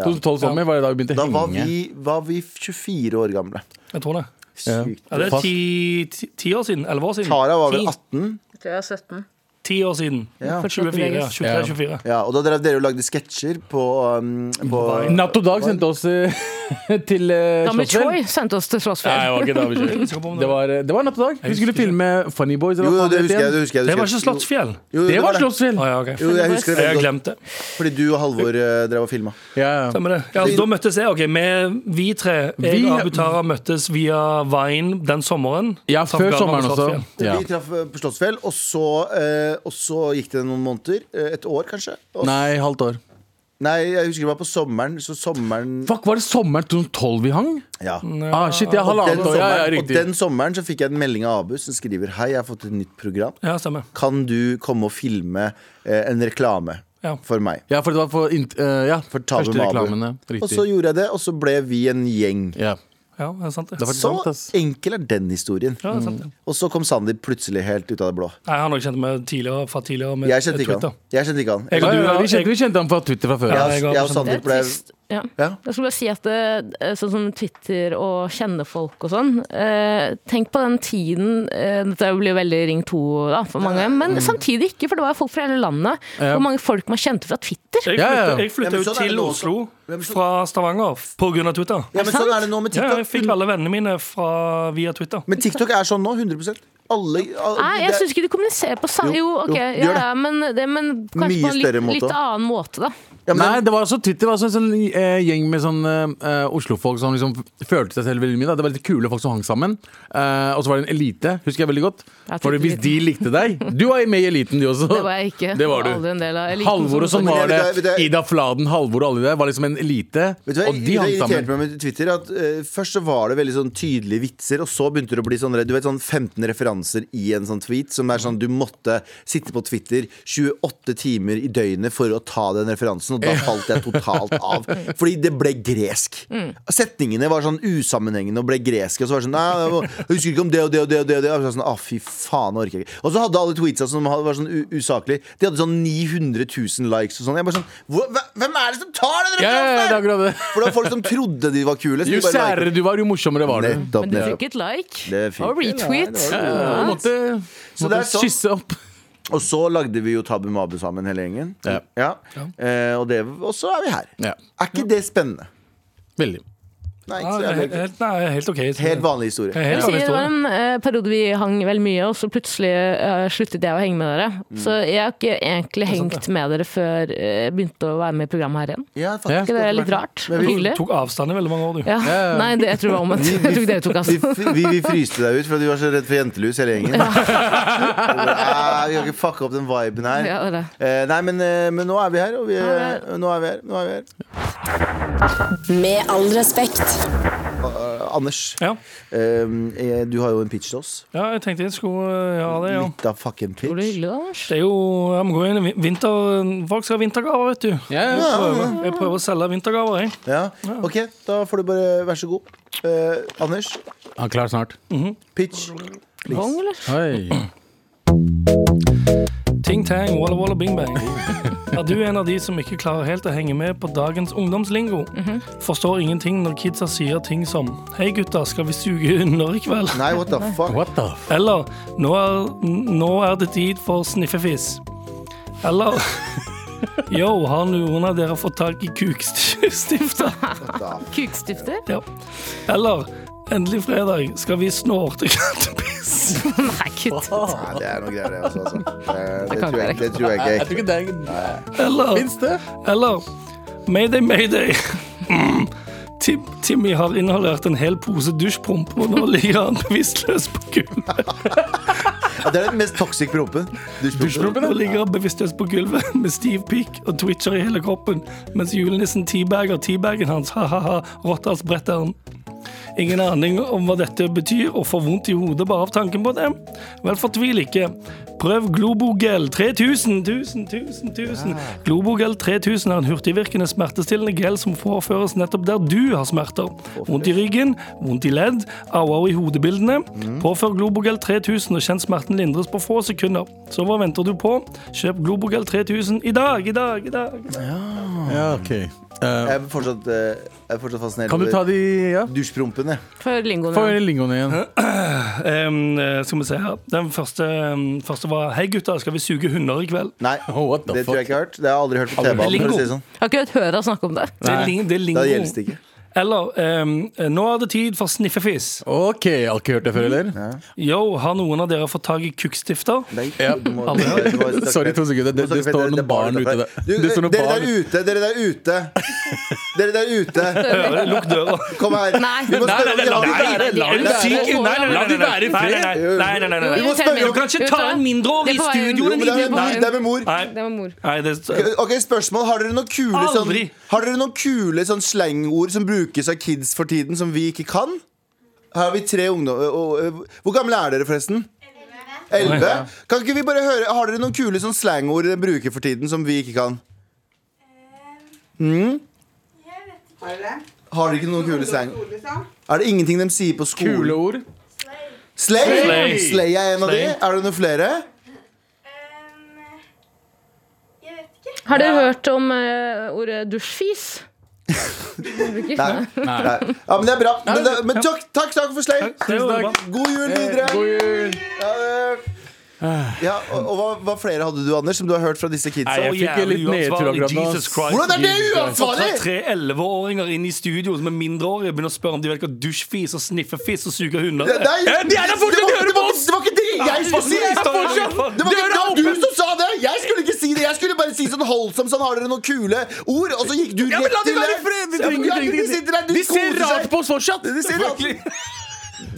2012 sommer var det da vi begynte
Da
å
var
henge.
vi, var vi 24 år gamle.
Jeg tror det.
Ja.
Sykt.
Ja, det er
Fuck.
ti, ti, ti år siden. Elleve år siden.
Tara var vel
Ti.
18,
Jeg er 17.
Ti år siden.
Ja.
24, ja.
Ja.
23-24.
ja, og da drev dere og lagde sketsjer på, um, på
Natt og Dag sendte oss eh, til uh,
Damli Choi sendte oss til
Nei, det
Slottsfjell.
var ikke David Choi. Det var, eh, det var Natt og Dag. Vi skulle
husker ikke.
filme Funny Boys. eller
Jo,
hva faen
det
het
husker jeg.
igjen.
Det, husker jeg,
Det
det
var
husker jeg.
ikke Slottsfjell.
Jo,
Det var
Å,
Slottsfjell.
ja, ok.
Jo, jeg husker det
Jeg
veldig
har
godt.
glemt det.
Fordi du og Halvor eh, drev og filma.
Ja.
Stemmer det. Ja, altså, da møttes jeg. ok, med, Vi tre, jeg
Vi-
og Abu Tara, møttes via Vine den sommeren.
ja,
Traff
før
hverandre på
sommeren også.
Slottsfjell.
Ja.
Vi traff eh, på Slottsfjell, og så, eh, og så gikk det noen måneder. eh, Et år, kanskje. Og,
Nei, halvt år.
nei, jeg husker det var på sommeren. Så sommeren
Fuck, var det sommeren 2012 vi hang?
Ja.
Ah, shit, jeg har
Den
halvannet år. Ja, ja,
sommeren, og
riktig.
den sommeren så fikk jeg en melding av Abu som skriver Hei, jeg har fått et nytt program.
Ja, stemmer.
Kan du komme og filme eh, en reklame
Ja.
for meg?
Ja, for det var for, int- eh, ja, for
Ta med
første
Mabel.
reklamene.
Og så
Riktig.
gjorde jeg det, og så ble vi en gjeng.
Ja.
Ja, det er sant det.
Det var
Så
sant, ass.
enkel er den historien.
Ja, det er sant det.
Og så kom Sandeep plutselig helt ut av det blå.
Mm. Nei, han har jeg kjent med tidligere, fra tidligere med
Jeg kjente ikke
Twitter.
han. Jeg kjente ikke han.
Jeg
Ja,
og du
ja, vi,
jeg-
kjente, vi kjente ham fra Twitter fra før.
Ja.
Ja.
Jeg,
jeg
jeg og
også.
Sandeep ble
trist. Ja.
Ja.
Jeg skulle bare si at det, sånn som Twitter og kjenne folk og sånn eh, Tenk på den tiden eh, Dette blir jo veldig Ring 2 da, for mange, men
Mm.
samtidig ikke, for det var jo folk fra hele landet.
Ja.
Hvor mange folk man kjente fra Twitter.
Jeg
Ja, ja, ja.
flytta-
Ja,
Jeg flytta
men
jo
sånn er det
til
nå
Oslo
også. Ja, men sånn-
fra Stavanger pga. Twitter.
ja, men sånn er det nå med
Ja, jeg
TikTok.
fikk alle vennene mine fra, via Twitter.
Men TikTok er sånn nå. 100 Alle, alle
Nei, jeg
det-
syns ikke de kommuniserer på samme
Jo,
Jo,
jo,
ok,
de
ja,
gjør det.
ja, men, det, men
Mye
kanskje på en litt,
større måte.
litt annen måte, da.
ja, men,
Nei, det var også Twitter var også en sånn eh, gjeng med sånn eh, Oslo-folk som liksom følte seg selv veldig mye. Da. Det var litt kule folk som hang sammen. Eh, og så var det en elite, husker jeg veldig godt.
Ja,
For hvis de likte deg Du var med i eliten, du også.
Det var jeg ikke.
Det var du.
Aldri en del av eliten
Halvor og
som-
sånn
Men jeg
var det.
vet det, jeg vet det.
Ida Fladen, Halvor og alle de der var liksom en elite.
Vet du hva,
Og de
Det
hang
irriterte
sammen.
meg med Twitter at eh, Først så var det veldig sånn tydelige vitser Og så begynte det å bli sånn, du vet, sånn 15 referanser i en sånn tweet Som er sånn, du måtte sitte på Twitter 28 timer i døgnet for å ta den referansen Og da falt jeg totalt av Fordi det ble gresk
Mm.
Setningene var sånn usammenhengende og ble greske Og så var det sånn, nei, jeg husker ikke om det og det og det og det Og, det. og så var jeg sånn, ah fy faen, orker jeg ikke Og så hadde alle tweetsa som hadde- var sånn u- usaklige De hadde sånn 900 000 likes og sånn Jeg bare sånn, hvor- hvem er det som tar den
Ja, ja, ja, det
referansen?
er akkurat det.
For det var folk som trodde de var kule. Så de
Jo
bare
særere du var, jo morsommere var du.
liket. Nettopp,
Men du
nettopp.
fikk et like
Det fikk
og retweet.
Ja, ja, du måtte,
det er
måtte
sånn.
kysse opp.
Og så lagde vi jo Tabu Mabu sammen, hele gjengen.
Ja.
Eh, og, det, og så er vi her.
Ja,
Er ikke det spennende?
veldig.
Nei,
Ja,
ikke så
det er helt,
jævlig.
helt, nei, helt OK.
Helt
vanlig.
vanlig historie.
Helt
Jeg vil
vanlig
si det
historie.
var en eh, periode vi hang vel mye, og så plutselig eh, sluttet jeg å henge med dere. Så jeg har ikke egentlig
sant,
hengt med dere før eh, jeg begynte å være med i programmet her igjen.
Ja,
Ja.
faktisk,
Ikke det er
hadde
litt
vært-
rart? og Hyggelig?
Tok avstand i veldig mange år, du.
Ja. Nei, det, jeg tror det var omvendt. Jeg tror ikke dere tok
Vi,
altså.
vi, vi fryste deg ut fordi du var så redd for jentelus, hele gjengen. Og bare, "Æ, vi kan ikke fucke opp den viben her.
Ja, det er det.
Eh, nei, men, eh, men nå er vi her, og vi,
Ja,
eh, nå er vi her. Nå er vi her.
Med all respekt.
Eh, Anders,
Ja.
eh, eh, du har jo en pitch til oss.
ja, jeg tenkte jeg skulle ja, det, ja.
Litt av fucking pitch.
Var det hyggelig, da? Lars?
Det er jo ja, vi går inn i vin- vinter, Folk skal ha vintergaver, vet du.
Ja, ja.
Prøver. Jeg prøver å selge vintergaver, jeg.
Ja, ok, da får du bare være så god Eh, Anders,
Han er klar snart.
pitch
Bong, eller?
Oi.
Ting tang, walla walla bing bang. Er du en av de som ikke klarer helt å henge med på dagens ungdomslingo? Forstår ingenting når kidsa sier ting som Hei gutta, skal vi suge hunder i kveld?
Nei, what the fuck?
What the f...
Eller nå er, n- nå er det tid for sniffefis. Eller Yo, har noen av dere fått tak i kukstifter?
Kukstifter?
Ja. Eller endelig fredag, skal vi snorte kattepiss?
Nei, kutt.
Nei, det er noe greier, det også. Altså. Eh, Det,
kan
tror jeg,
ikke
det tror jeg ikke. er
Jeg
ekte.
tror ikke det er
Eller
Fins det?
Eller Mayday, mayday. Mm. Tim, Timmy har inhalert en hel pose dusjpromp, og nå ligger han bevisstløs på gulvet.
Ja, det er den mest toxic prompen. Dusjprompen.
Nå ligger han bevisstløs på gulvet med stiv pikk og twitcher i hele kroppen, mens julenissen teabager teabagen hans, ha-ha-ha, Rotterdamsbretteren. Ingen aning om hva dette betyr, og får vondt i hodet bare av tanken på det. Vel, fortvil ikke. Prøv Globogel 3000, 1000, 1000, 1000. Globogel 3000 er en hurtigvirkende smertestillende gel som forføres nettopp der du har smerter. Vondt i ryggen, vondt i ledd, au-au i hodebildene. Påfør Globogel 3000 og kjenn smerten lindres på få sekunder. Så hva venter du på? Kjøp Globogel 3000 i dag, i dag, i dag.
Ja, ok Eh,
Jeg er fortsatt, eh, jeg er fortsatt fascinert
Kan du ta de ja?
dusjprompen, jeg.
For lingoen.
Få
ja.
høre lingoen igjen.
Em, eh, skal vi se her. Den første, em, første var Hei gutta, skal vi suge hunder i kveld?
Nei,
Oh, what the
det tror jeg ikke
fuck?
jeg har hørt. Det har jeg aldri hørt på
Aldri.
T-banen. for å si det sånn.
Jeg har ikke hørt Høra snakke om det.
Det er, ling, det er lingo.
Da gjelder det ikke.
Eller em, Nå er det tid for sniffefis.
Ok, jeg har ikke hørt det før, eller?
Yo, har noen av dere fått tak i kukkstifter?
Nei,
Ja.
du må- du må- du må snakke
Sorry, to sekunder.
Du
Det,
må
det
snakke
står
fett. Det
noen
er
barn ute
utenfor.
der.
Du,
Det står noen
dere
barn.
der ute, dere der ute. Dere der ute,
Hører det? Lukk døra.
kom her.
Nei.
Vi må
Nei,
spørre om de
la de
har-
være! La de være! Nei, nei, nei,
La de være i
nei, nei,
fred.
nei, nei, nei, nei, nei,
Jo,
må
nei.
irriterer
spørre,
meg.
Du kan ikke ta en mindreårig
Det
i
var en-
studio!
Men
din
det er med
idiot.
mor. Det er med mor.
Nei,
Det var mor.
nei, det
Ok, spørsmål. Har dere noen kule, sånn,
Aldri.
har dere noen kule sånn slangord som brukes av kids for tiden, som vi ikke kan? Her har vi tre ungdom... og- og- Hvor gamle er dere, forresten? Elleve? Kan ikke vi bare høre Har dere noen kule sånn slangord dere bruker for tiden, som vi ikke kan? Mm?
Ehm,
Har dere ikke noen kule slang? Er det ingenting de sier på
Kule
skolen?
ord.
Slay?
Slay.
Slay er en av de.
Slay.
Er det noen flere?
Jeg vet ikke.
Har dere hørt om eh, ordet dusjfis?
Nei. Nei. Ja, men det er bra. Men, det, men takk, takk, takk for Slay.
Tusen takk.
God jul videre.
God jul.
Ja, eh, ja, og, og hva, hva flere hadde du, Anders, som du har hørt fra disse kidsa?
Nei, jeg fikk
litt nedtur akkurat nå.
Hvordan er det
Ta
uansvarlig?!
eh, tre 11-åringer inn i studio som er mindreårige begynner å spørre om de vet hva dusjfis og sniffefis og suger hunder
Det,
er.
nei,
Eh, de er der fortsatt,
det,
de
var,
hører
det,
på
var,
oss!
det var ikke det jeg skulle si!
Nei,
Det
fortsatt.
var ikke
Døra
det du som sa det! Jeg skulle ikke si det! Jeg skulle bare si sånn holdsom sånn, har dere noen kule ord? Og så gikk du
Ja, men la
rett
de
til
være
det.
i fred!
Ja,
De
men
trenger-
ja, men
de
De
trenger-
sitter der,
De
de
ser
koser
rart
seg.
på oss fortsatt!
De ser rart.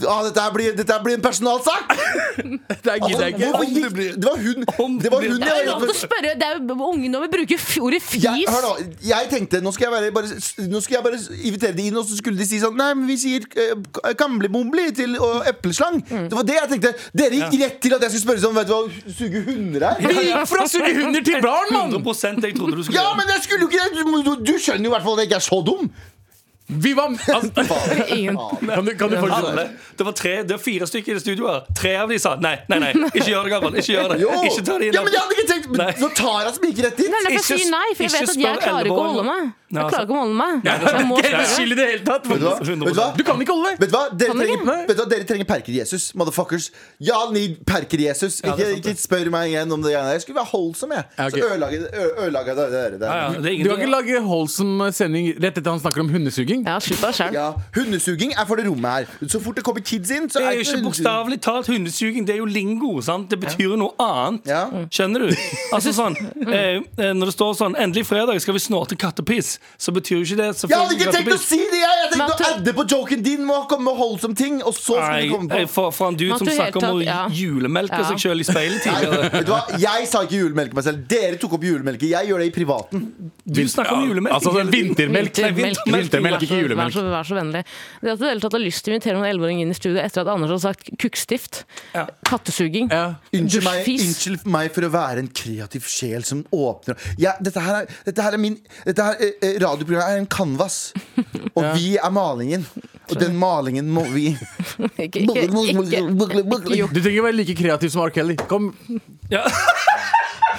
Ah, dette, her blir, dette her blir en personalsak! Altså,
Det gidder jeg
Hvorfor
ikke.
gikk Det var hun! Det var hun
Det er jo
jeg
lov til å spørre. Det er jo Ungdommer bruker f- ordet fis.
jeg, hør nå, jeg tenkte nå skal jeg, bare, bare, nå skal jeg bare invitere de inn, og så skulle de si sånn Nei, men vi sier eh, gamlebomli til og epleslang.
Mm.
Det var det jeg tenkte. Dere gikk rett til at jeg skulle spørre sånn Vet du hva suge hunder
Vi
er?
gikk fra suge hunder til barn, mann!
100 jeg trodde du skulle
Ja, men jeg skulle jo ikke det! Du, du, du skjønner jo i hvert fall at jeg ikke er så dum.
Vi var altså,
Ingen.
Kan du, kan du fortsette?
Alle. Det var, tre, det var fire stykker i det studioet. her. Tre av de sa nei, nei, nei, ikke gjør det, Gabriel. Ikke gjør det.
Jo!
Ikke ta det inn.
Ja, men jeg hadde ikke tenkt
Nei.
Når Tara smiker rett dit
Det er derfor jeg
Ikke
sier nei, for jeg
sp-
vet at
ikke
jeg
spør
klarer ikke å holde
11-åringer.
meg.
Nei,
Jeg
altså.
klarer ikke å holde meg.
Nei, altså,
Jeg må
det er
Ikke
spørre.
skill i det hele tatt!
Vet du hva? Vet du hva?
Du kan ikke holde deg!
Vet du hva? Dere
Kan
trenger,
ikke.
vet du hva? Dere trenger perker Jesus, motherfuckers. Ja, ni perker Jesus.
Ja,
Ikke,
det er sant,
ikke spør meg igjen om det. greiene der. Jeg skulle være holdsom, jeg.
Ja, ok.
Så ødelagde- ø- ødelagde jeg dere. der.
Ja, ja, det er
Du kan ikke
ingen
lage holdsom sending rett etter han snakker om hundesuging.
Ja, slutt deg sjøl.
Ja, Hundesuging er for det rommet her. Så fort det kommer kids inn, så
det
er
er jo ikke bokstavelig talt hundesuging, det er jo lingo. sant? Det betyr jo noe annet.
Ja.
Skjønner du? Altså sånn, eh, eh, Når det står sånn 'endelig fredag skal vi snorte kattepiss', så betyr jo ikke det
Jeg hadde ikke tenkt å
kattepiss.
si det! Jeg, jeg tenkte
Men at
å
du-
adde på joken din med å komme med holdsom ting. Og så skulle du
Nei,
komme
eh,
på
for, for en dude
Men at
som
du helt
snakker om å
tatt- ja.
julemelke
Ja.
seg sjøl i speilet tidligere.
Vet du hva? Jeg sa ikke julemelke meg selv. Dere tok opp julemelke. Jeg gjør det i privaten.
Du snakker om julemelk.
Altså sånn vintermelk.
Vintermelk.
Vintermelk, ikke
Vær
julemelk.
så, vær så vennlig. Det at du i det hele tatt har lyst til å invitere noen 11-åring inn i studio etter at Anders har sagt kukkstift,
Ja.
kattesuging,
Ja.
Unnskyld meg,
Dusjfis.
unnskyld meg for å være en kreativ sjel som åpner ja, dette, her er, dette her er min dette her, eh, eh, Radioprogrammet er en canvas, og vi er malingen. Og den malingen må vi
Ikke, ikke, ikke, ikke, ikke, jo.
Du trenger ikke være like kreativ som R. Kelly. Kom,
Ja.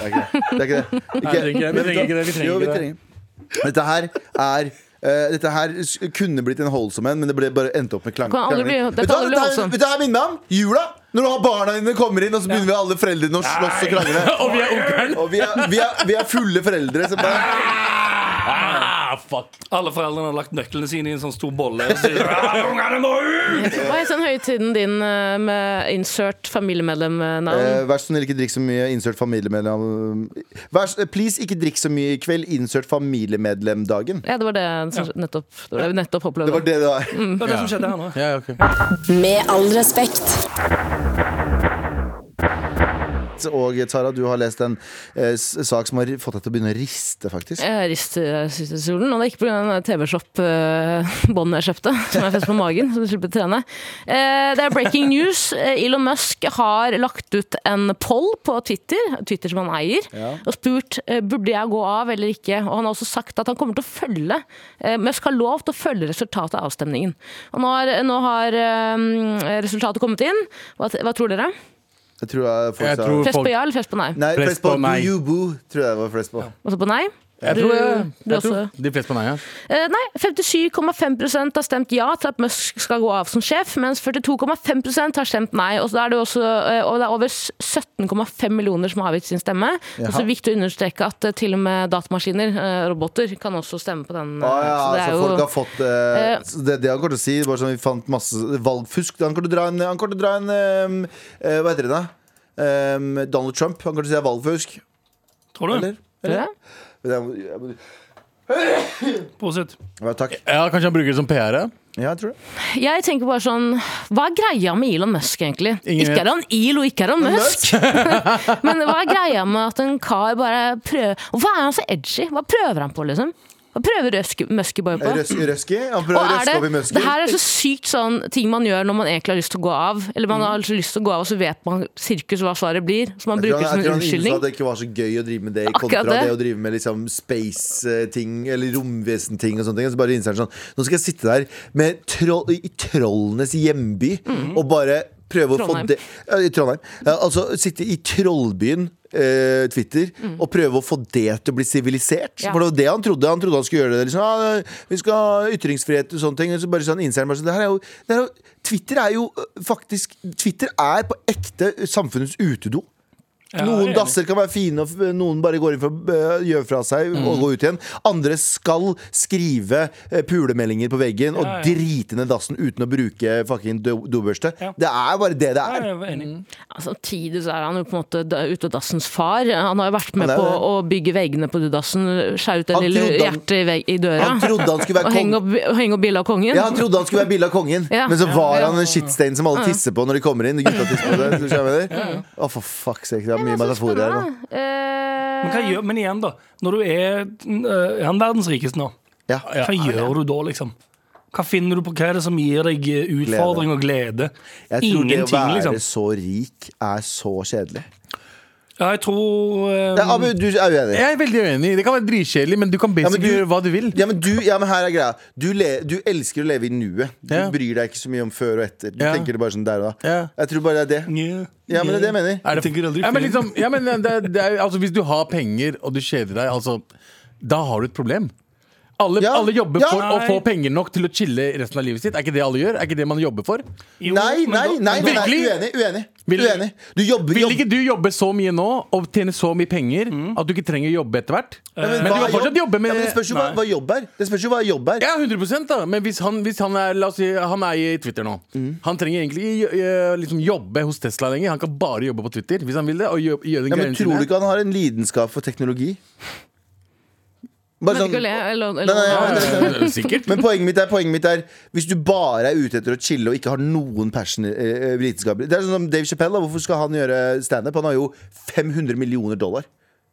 Det er ikke det. det, er ikke det. Ikke-
trenger ikke det. Vi
Men vet du
trenger
hva?
ikke det. Vi trenger
Jo,
ikke det.
trenger. Dette her er eh, dette her s- kunne blitt en holdsom en, men det ble bare endte opp med klang.
Det kan aldri bli-
krangling.
det
Vet du
kan
hva
aldri bli
dette her-
holdsom.
vet du hva jeg minner meg om? Jula! Når du har barna dine kommer inn, og så begynner vi alle foreldrene å slåss og krangle.
Og vi er onkelen!
Og vi er, vi, er, vi er fulle foreldre som bare
Ah, fuck.
Alle foreldrene har lagt nøklene sine i en sånn stor bolle. Og sier, «Ah, ungene må ut!
Hva het den høytiden din eh, med insert
eh,
familiemedlem-navn?
Vær så snill, ikke drikk så mye. Insert familiemedlem. Vær, så- please, ikke drikk så mye i kveld. Insert familiemedlemdagen.
Ja, det var det, som nettopp, det var det vi nettopp
Det
opplevde.
var det det var.
Mm.
Det var det som skjedde her nå.
Ja, ok.
Med all respekt.
Og eh, Tara, du har lest en eh, s- sak som har fått deg til å begynne å riste, faktisk.
Jeg ristet solen, og det er ikke pga. TV-shop-båndet eh, jeg kjøpte, som jeg festet på magen, så jeg slipper å trene. Eh, Det er breaking news. Eh, Elon Musk har lagt ut en poll på Twitter, Twitter som han eier, og spurt eh, burde jeg gå av eller ikke. Og han har også sagt at han kommer til å følge eh, Musk har lov til å følge resultatet av avstemningen. Og nå har, nå har eh, resultatet kommet inn. Hva, hva tror dere?
Jeg tror jeg folk
Jeg
sa
tror-
Flest
Folk-
på ja eller flest på nei?
Nei,
Flest
flest på
på meg.
you boo, tror jeg det var flest på.
Altså på nei?
Jeg
Du-
tror,
du
jeg tror
også-
de fleste på nei, ja.
Eh, Nei, 57,5 har stemt ja til at Musk skal gå av som sjef, mens 42,5 har stemt nei. Og, så er det, også, eh, og det er over s- 17,5 millioner som har avgitt sin stemme. Og så er det viktig å understreke at eh, til og med datamaskiner, eh, roboter, kan også stemme på den. eh,
Ah, ja,
så det er
altså,
jo-
folk har fått eh,
Eh.
så det, det han kommer til å si, bare sånn vi fant masse valgfusk Han kommer til å dra en, han kommer til å dra en ehm, eh, Hva heter det da? Ehm, Donald Trump. Han kommer til å si det er valgfusk.
Tror du?
Eller?
Tror du det?
Men jeg må- jeg må-
Prosit.
Ja, takk.
ja. Kanskje han bruker det som PR? ja.
Ja, jeg tror det.
Jeg tenker bare sånn Hva er greia med Elon Musk, egentlig?
Ingen
ikke
vet.
er han ILO, ikke er han Musk! Men hva er greia med at en kar bare prøver Hvorfor er han så edgy? Hva prøver han på, liksom? Hva prøver Røsk- Musk bare på?
Røs, røski? Han
Og
prøver å
er
røske opp i
det, det
muskel.
her er så sykt sånn ting man gjør når man egentlig har lyst til å gå av. Eller
Mm.
man har altså lyst til å gå av, og så vet man sirkus hva svaret blir. Så man
Jeg tror
bruker det
han-
som
jeg tror
en
han innså
unnskyldning.
at det ikke var så gøy å drive med det,
Akkurat
kontra det.
det.
å drive med liksom space-ting eller romvesen-ting. og sånne ting Og så bare innså han sånn Nå skal jeg sitte der med troll, i trollenes hjemby og bare prøve å få
Mhm. Trondheim.
det ja, I Trondheim. Ja, altså sitte i trollbyen. eh, Twitter, og prøve å få det til å bli sivilisert.
Mhm. Ja.
For det var det han trodde. Han trodde han skulle gjøre det. Liksom, ah, vi skal ha ytringsfrihet og sånne ting. Og så bare sånn innser han bare sånn, det her er jo, det er jo Twitter er jo øh, faktisk Twitter er på ekte samfunnets utedo.
Ja,
Noen
enig.
dasser kan være fine, og f- noen bare går inn for å øh, gjøre fra seg
Mm.
og gå ut igjen. Andre skal skrive øh, pulemeldinger på veggen og
Ja, ja.
drite ned dassen uten å bruke fucking do dobørste.
Ja.
Det er bare det det
Ja,
er.
jeg var enig.
Ja, Altså, Samtidig så er han jo på en måte da- ute av dassens far. Han har jo vært med
Han er
på
det.
å bygge veggene på dassen, skjære ut
Han
en lille
trodde han-
hjerte i, vegg, i døra.
Han trodde han skulle
Og
være
henge
kong.
opp, og henge opp bildet av kongen.
Ja, han trodde han skulle være bilde av kongen,
Ja.
men så var
Ja.
han en shitstein som alle tisser på når de kommer inn. Gutta tisser på det, skjønner du hva jeg mener? Å, for fuck's sake. Det er mye metaforer
Eh,
her nå.
Men, hva gjør, men igjen, da. Når du er, øh, er han verdens rikeste nå,
Ja.
hva gjør du da, liksom? Hva finner du på? Hva er det som gir deg eh, utfordring og glede?
Jeg tror det å
Ingenting,
være
liksom.
så rik er så kjedelig.
Ja, jeg tror øh,
Ja, Abu, du er uenig.
Jeg er veldig uenig. Det kan være dritkjedelig, men du kan
men
basically
du-
gjøre hva du vil.
Ja, men, du, ja, men her er greia. Du, le, du elsker å leve i nuet. Du
Ja.
bryr deg ikke så mye om før og etter. Du
Ja.
tenker det bare sånn der og da.
Ja.
Jeg tror bare det er det.
nja,
Ja, men det er det jeg mener.
Er det,
tenker aldri
ja, men
feil.
liksom, ja, men det, det er, altså, Hvis du har penger og du kjeder deg, altså, da har du et problem. Alle,
Ja.
alle jobber
Ja.
for å
Nei.
få penger nok til å chille resten av livet sitt. Er ikke det alle gjør? Er ikke det man jobber for?
jo,
Nei,
men
nei,
da-
nei, nei, nei
Virkelig?
uenig. Uenig.
Vil-
uenig. Du jobber,
Vil
jobb- Mm.
ikke du jobbe så mye nå og tjene så mye penger at du ikke trenger å jobbe etter hvert? men
hva
du
er
kan
jobb?
fortsatt jobbe med
ja, men Det spørs jo hva, hva jobb er. Det spørs jo hva jobb er.
Ja, 100 da. Men hvis han, hvis han er La oss si han er i Twitter nå.
Mm.
Han trenger egentlig ikke eh, liksom, jobbe hos Tesla lenger. Han kan bare jobbe på Twitter hvis han vil det. Og gjøre, gjøre den
Ja, men
greiene
tror du
sine.
ikke han har en lidenskap for teknologi? Bare
Men ikke å le, eller, eller,
sånn- Nei, nei, nei, nei.
Eh, Sikkert.
Men poenget mitt er, poenget mitt er Hvis du bare er ute etter å chille og ikke har noen passion eh, vitenskaper Det er sånn som Dave Chappelle, da. hvorfor skal han gjøre standup? Han har jo 500 millioner dollar.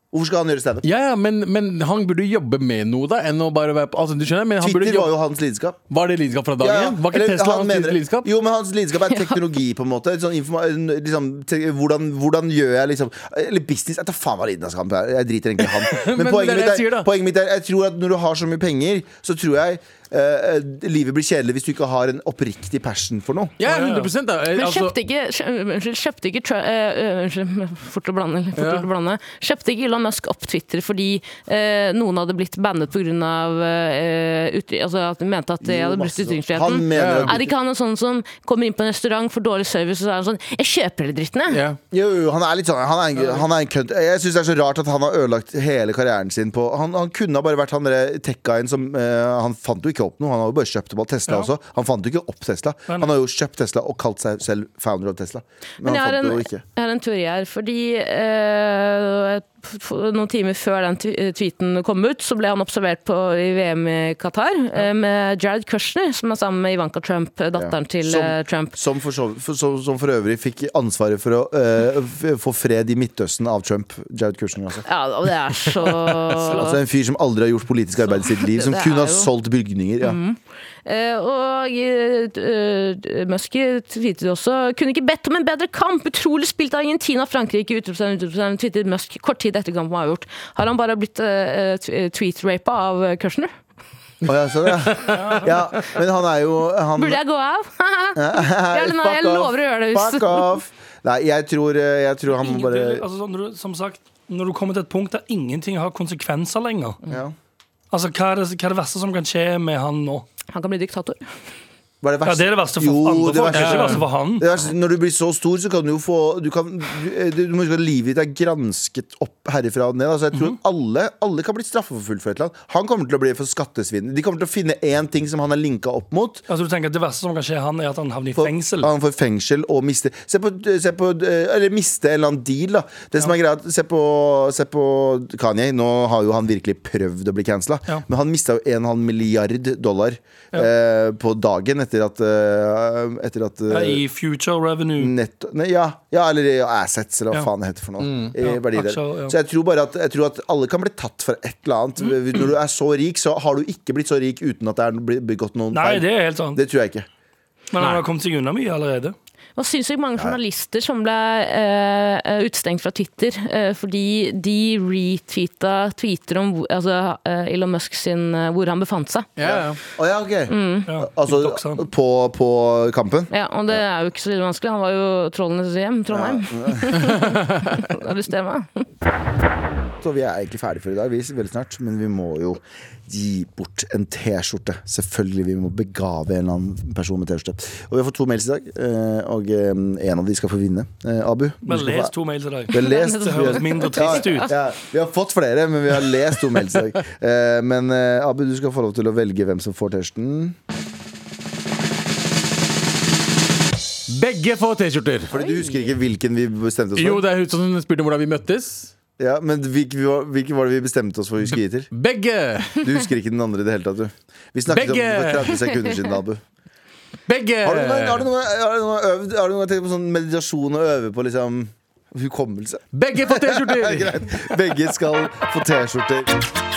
Hvorfor skal han gjøre standup?
Ja, ja, men, men han burde jobbe med noe, da. Enn å bare være på, altså, du skjønner, men han burde
Twitter var jo
jobbe,
hans lidenskap.
var det lidenskap fra dagen?
Ja,
igjen? Var ikke
eller
Tesla
han
hans
mener-
lidenskap?
Jo, men hans lidenskap er teknologi, på en måte. Sånn informa liksom, te hvordan, hvordan gjør jeg liksom Eller business. Jeg tar faen hva lidenskap er. Jeg driter egentlig i han. Men,
Men det er
poenget,
det
mitt
jeg sier,
er,
da.
poenget mitt er Jeg tror at når du har så mye penger, så tror jeg eh, livet blir kjedelig hvis du ikke har en oppriktig passion for noe.
Ja, 100 da. Eh,
Men
altså-
kjøpte ikke kjø- Unnskyld, kjøpte ikke Tra- eh, Unnskyld, fort å blande. Fort
Ja.
å blande. Kjøpte ikke Elon Musk opp Twitter fordi eh, noen hadde blitt bannet pga. Uh, altså at de mente at de
Jo,
hadde
masse
brutt
sånn. Han
ytringsfriheten?
mener
Ja.
Er det ikke han en sånn som kommer inn på en restaurant, får dårlig service og så er han sånn 'Jeg kjøper hele dritten, jeg'.
Ja.
Jo, jo, han er litt sånn Han er en, han er en kønt Jeg synes det er så rart at han har ødelagt hele karrieren sin på Han, han kunne ha bare vært han der tech-guyen som eh, Han fant jo ikke opp noe Han har jo bare kjøpt opp alt Tesla også Han fant jo ikke opp Tesla Han har jo kjøpt Tesla og kalt seg selv founder av Tesla Men,
Men
han
jeg har,
fant
en,
det jo ikke
jeg har en teori her, fordi eh, f- f- noen timer før den tw- eh, tweeten kom ut, så ble han observert på i VM i Qatar eh, med Jared Kushner, som er sammen med Ivanka Trump, eh, datteren
Ja.
til
Som-
eh, Trump.
som for, så, for, som, som for øvrig fikk ansvaret for å eh, f- få fred i Midtøsten av Trump Jared Kushner altså.
Ja, og det er så
altså en fyr som aldri har gjort politisk arbeid i sitt liv Som
Det er
kun har
jo-
solgt bygninger ja.
Eh, Og uh, Musk tweetet også Kunne ikke bedt om en bedre kamp! Utrolig spilt av Argentina og Frankrike! Utropstegn, utropstegn, tweetet Musk kort tid etter kampen var avgjort. Har han bare blitt uh, tweet-rapa av eh, Kushner?
Å, ja, sånn, ja. ja Men han er jo han,
Burde jeg gå av? Jævlig nei,
Fuck
jeg
off.
lover å gjøre det, hvis-
Fuck off! Nei, jeg tror, eh, jeg tror han må
Ingen-
bare
altså, sånn, når du, som sagt, når du kommer til et punkt der ingenting har konsekvenser lenger
ja.
Altså, hva er, det, hva er det verste som kan skje med han nå?
Han kan bli diktator.
Hva er det
Ja,
verste?
det er det verste for
Jo,
andre
det
folk, det er
verste-
ikke det verste for han.
Det verste- når du blir så stor, så kan du jo få Du, kan, du, eh, du må huske at livet ditt er gransket opp herifra og ned. Altså, jeg
Mhm.
tror alle, alle kan bli straffeforfulgt for et eller annet. Han kommer til å bli for skattesvinn. De kommer til å finne én ting som han er linka opp mot.
Altså, du tenker at Det verste som kan skje han, er at han havner i
For,
fengsel.
Han får fengsel og miste Se på, se på eh, Eller miste en eller annen deal, da. Det som er greit, se på, se på Kanye. Nå har jo han virkelig prøvd å bli cancela,
Ja.
men han mista jo 1,5 milliard dollar eh, på dagen etter at eh, Etter at eh,
Ja, I future revenue.
Netto, nei, ja, ja, eller ja, assets, eller hva
Ja.
faen det heter for noe. I
Ja,
verdier.
aksjer, ja. Mm.
Så jeg tror bare at, jeg tror at alle kan bli tatt for et eller annet. Når du er så rik, så har du ikke blitt så rik uten at det er blitt begått noen
Nei,
feil.
det er helt sant.
det tror jeg ikke.
Men han har kommet seg unna mye allerede.
Og sinnssykt mange journalister som ble eh, utestengt fra Twitter eh, fordi de retweeta tweeter om hvor- altså, eh, Elon Musk sin eh, hvor han befant seg.
Ja, ja.
Å ja, ok.
Ja,
Altså
TikTok-sant.
på, på kampen?
Ja, Og det er jo ikke så veldig vanskelig. Han var jo trollenes hjem, Trondheim. Arrester meg.
Så vi er egentlig ferdig for i dag, vi veldig snart. Men vi må jo gi bort en T-skjorte. Selvfølgelig. Vi må begave en eller annen person med T-skjorte. Og vi har fått to mails i dag, eh, og eh, en av de skal få vinne. Eh, Abu. du
Men
skal få-
les to mail til deg.
Vi har lest
Det høres mindre trist
ja,
ut.
ja, vi har fått flere, men vi har lest om Else. Eh, men eh, Abu, du skal få lov til å velge hvem som får testen.
Begge får T-skjorter.
Fordi du husker ikke hvilken vi bestemte oss
Jo,
for?
det er hun som spurte om hvordan vi møttes.
Ja, men hvilken var, hvilken var det vi bestemte oss for å huske gitt til?
Begge!
Du husker ikke den andre i det hele tatt, du. Vi snakket om det
Begge!
for 30 sekunder siden, Abu.
Begge!
Har du noen, har du noen, har du noen, øvd, har du noen gang tenkt på sånn meditasjon og øve på liksom hukommelse?
Begge får T-skjorter!
Greit. Begge skal få T-skjorter.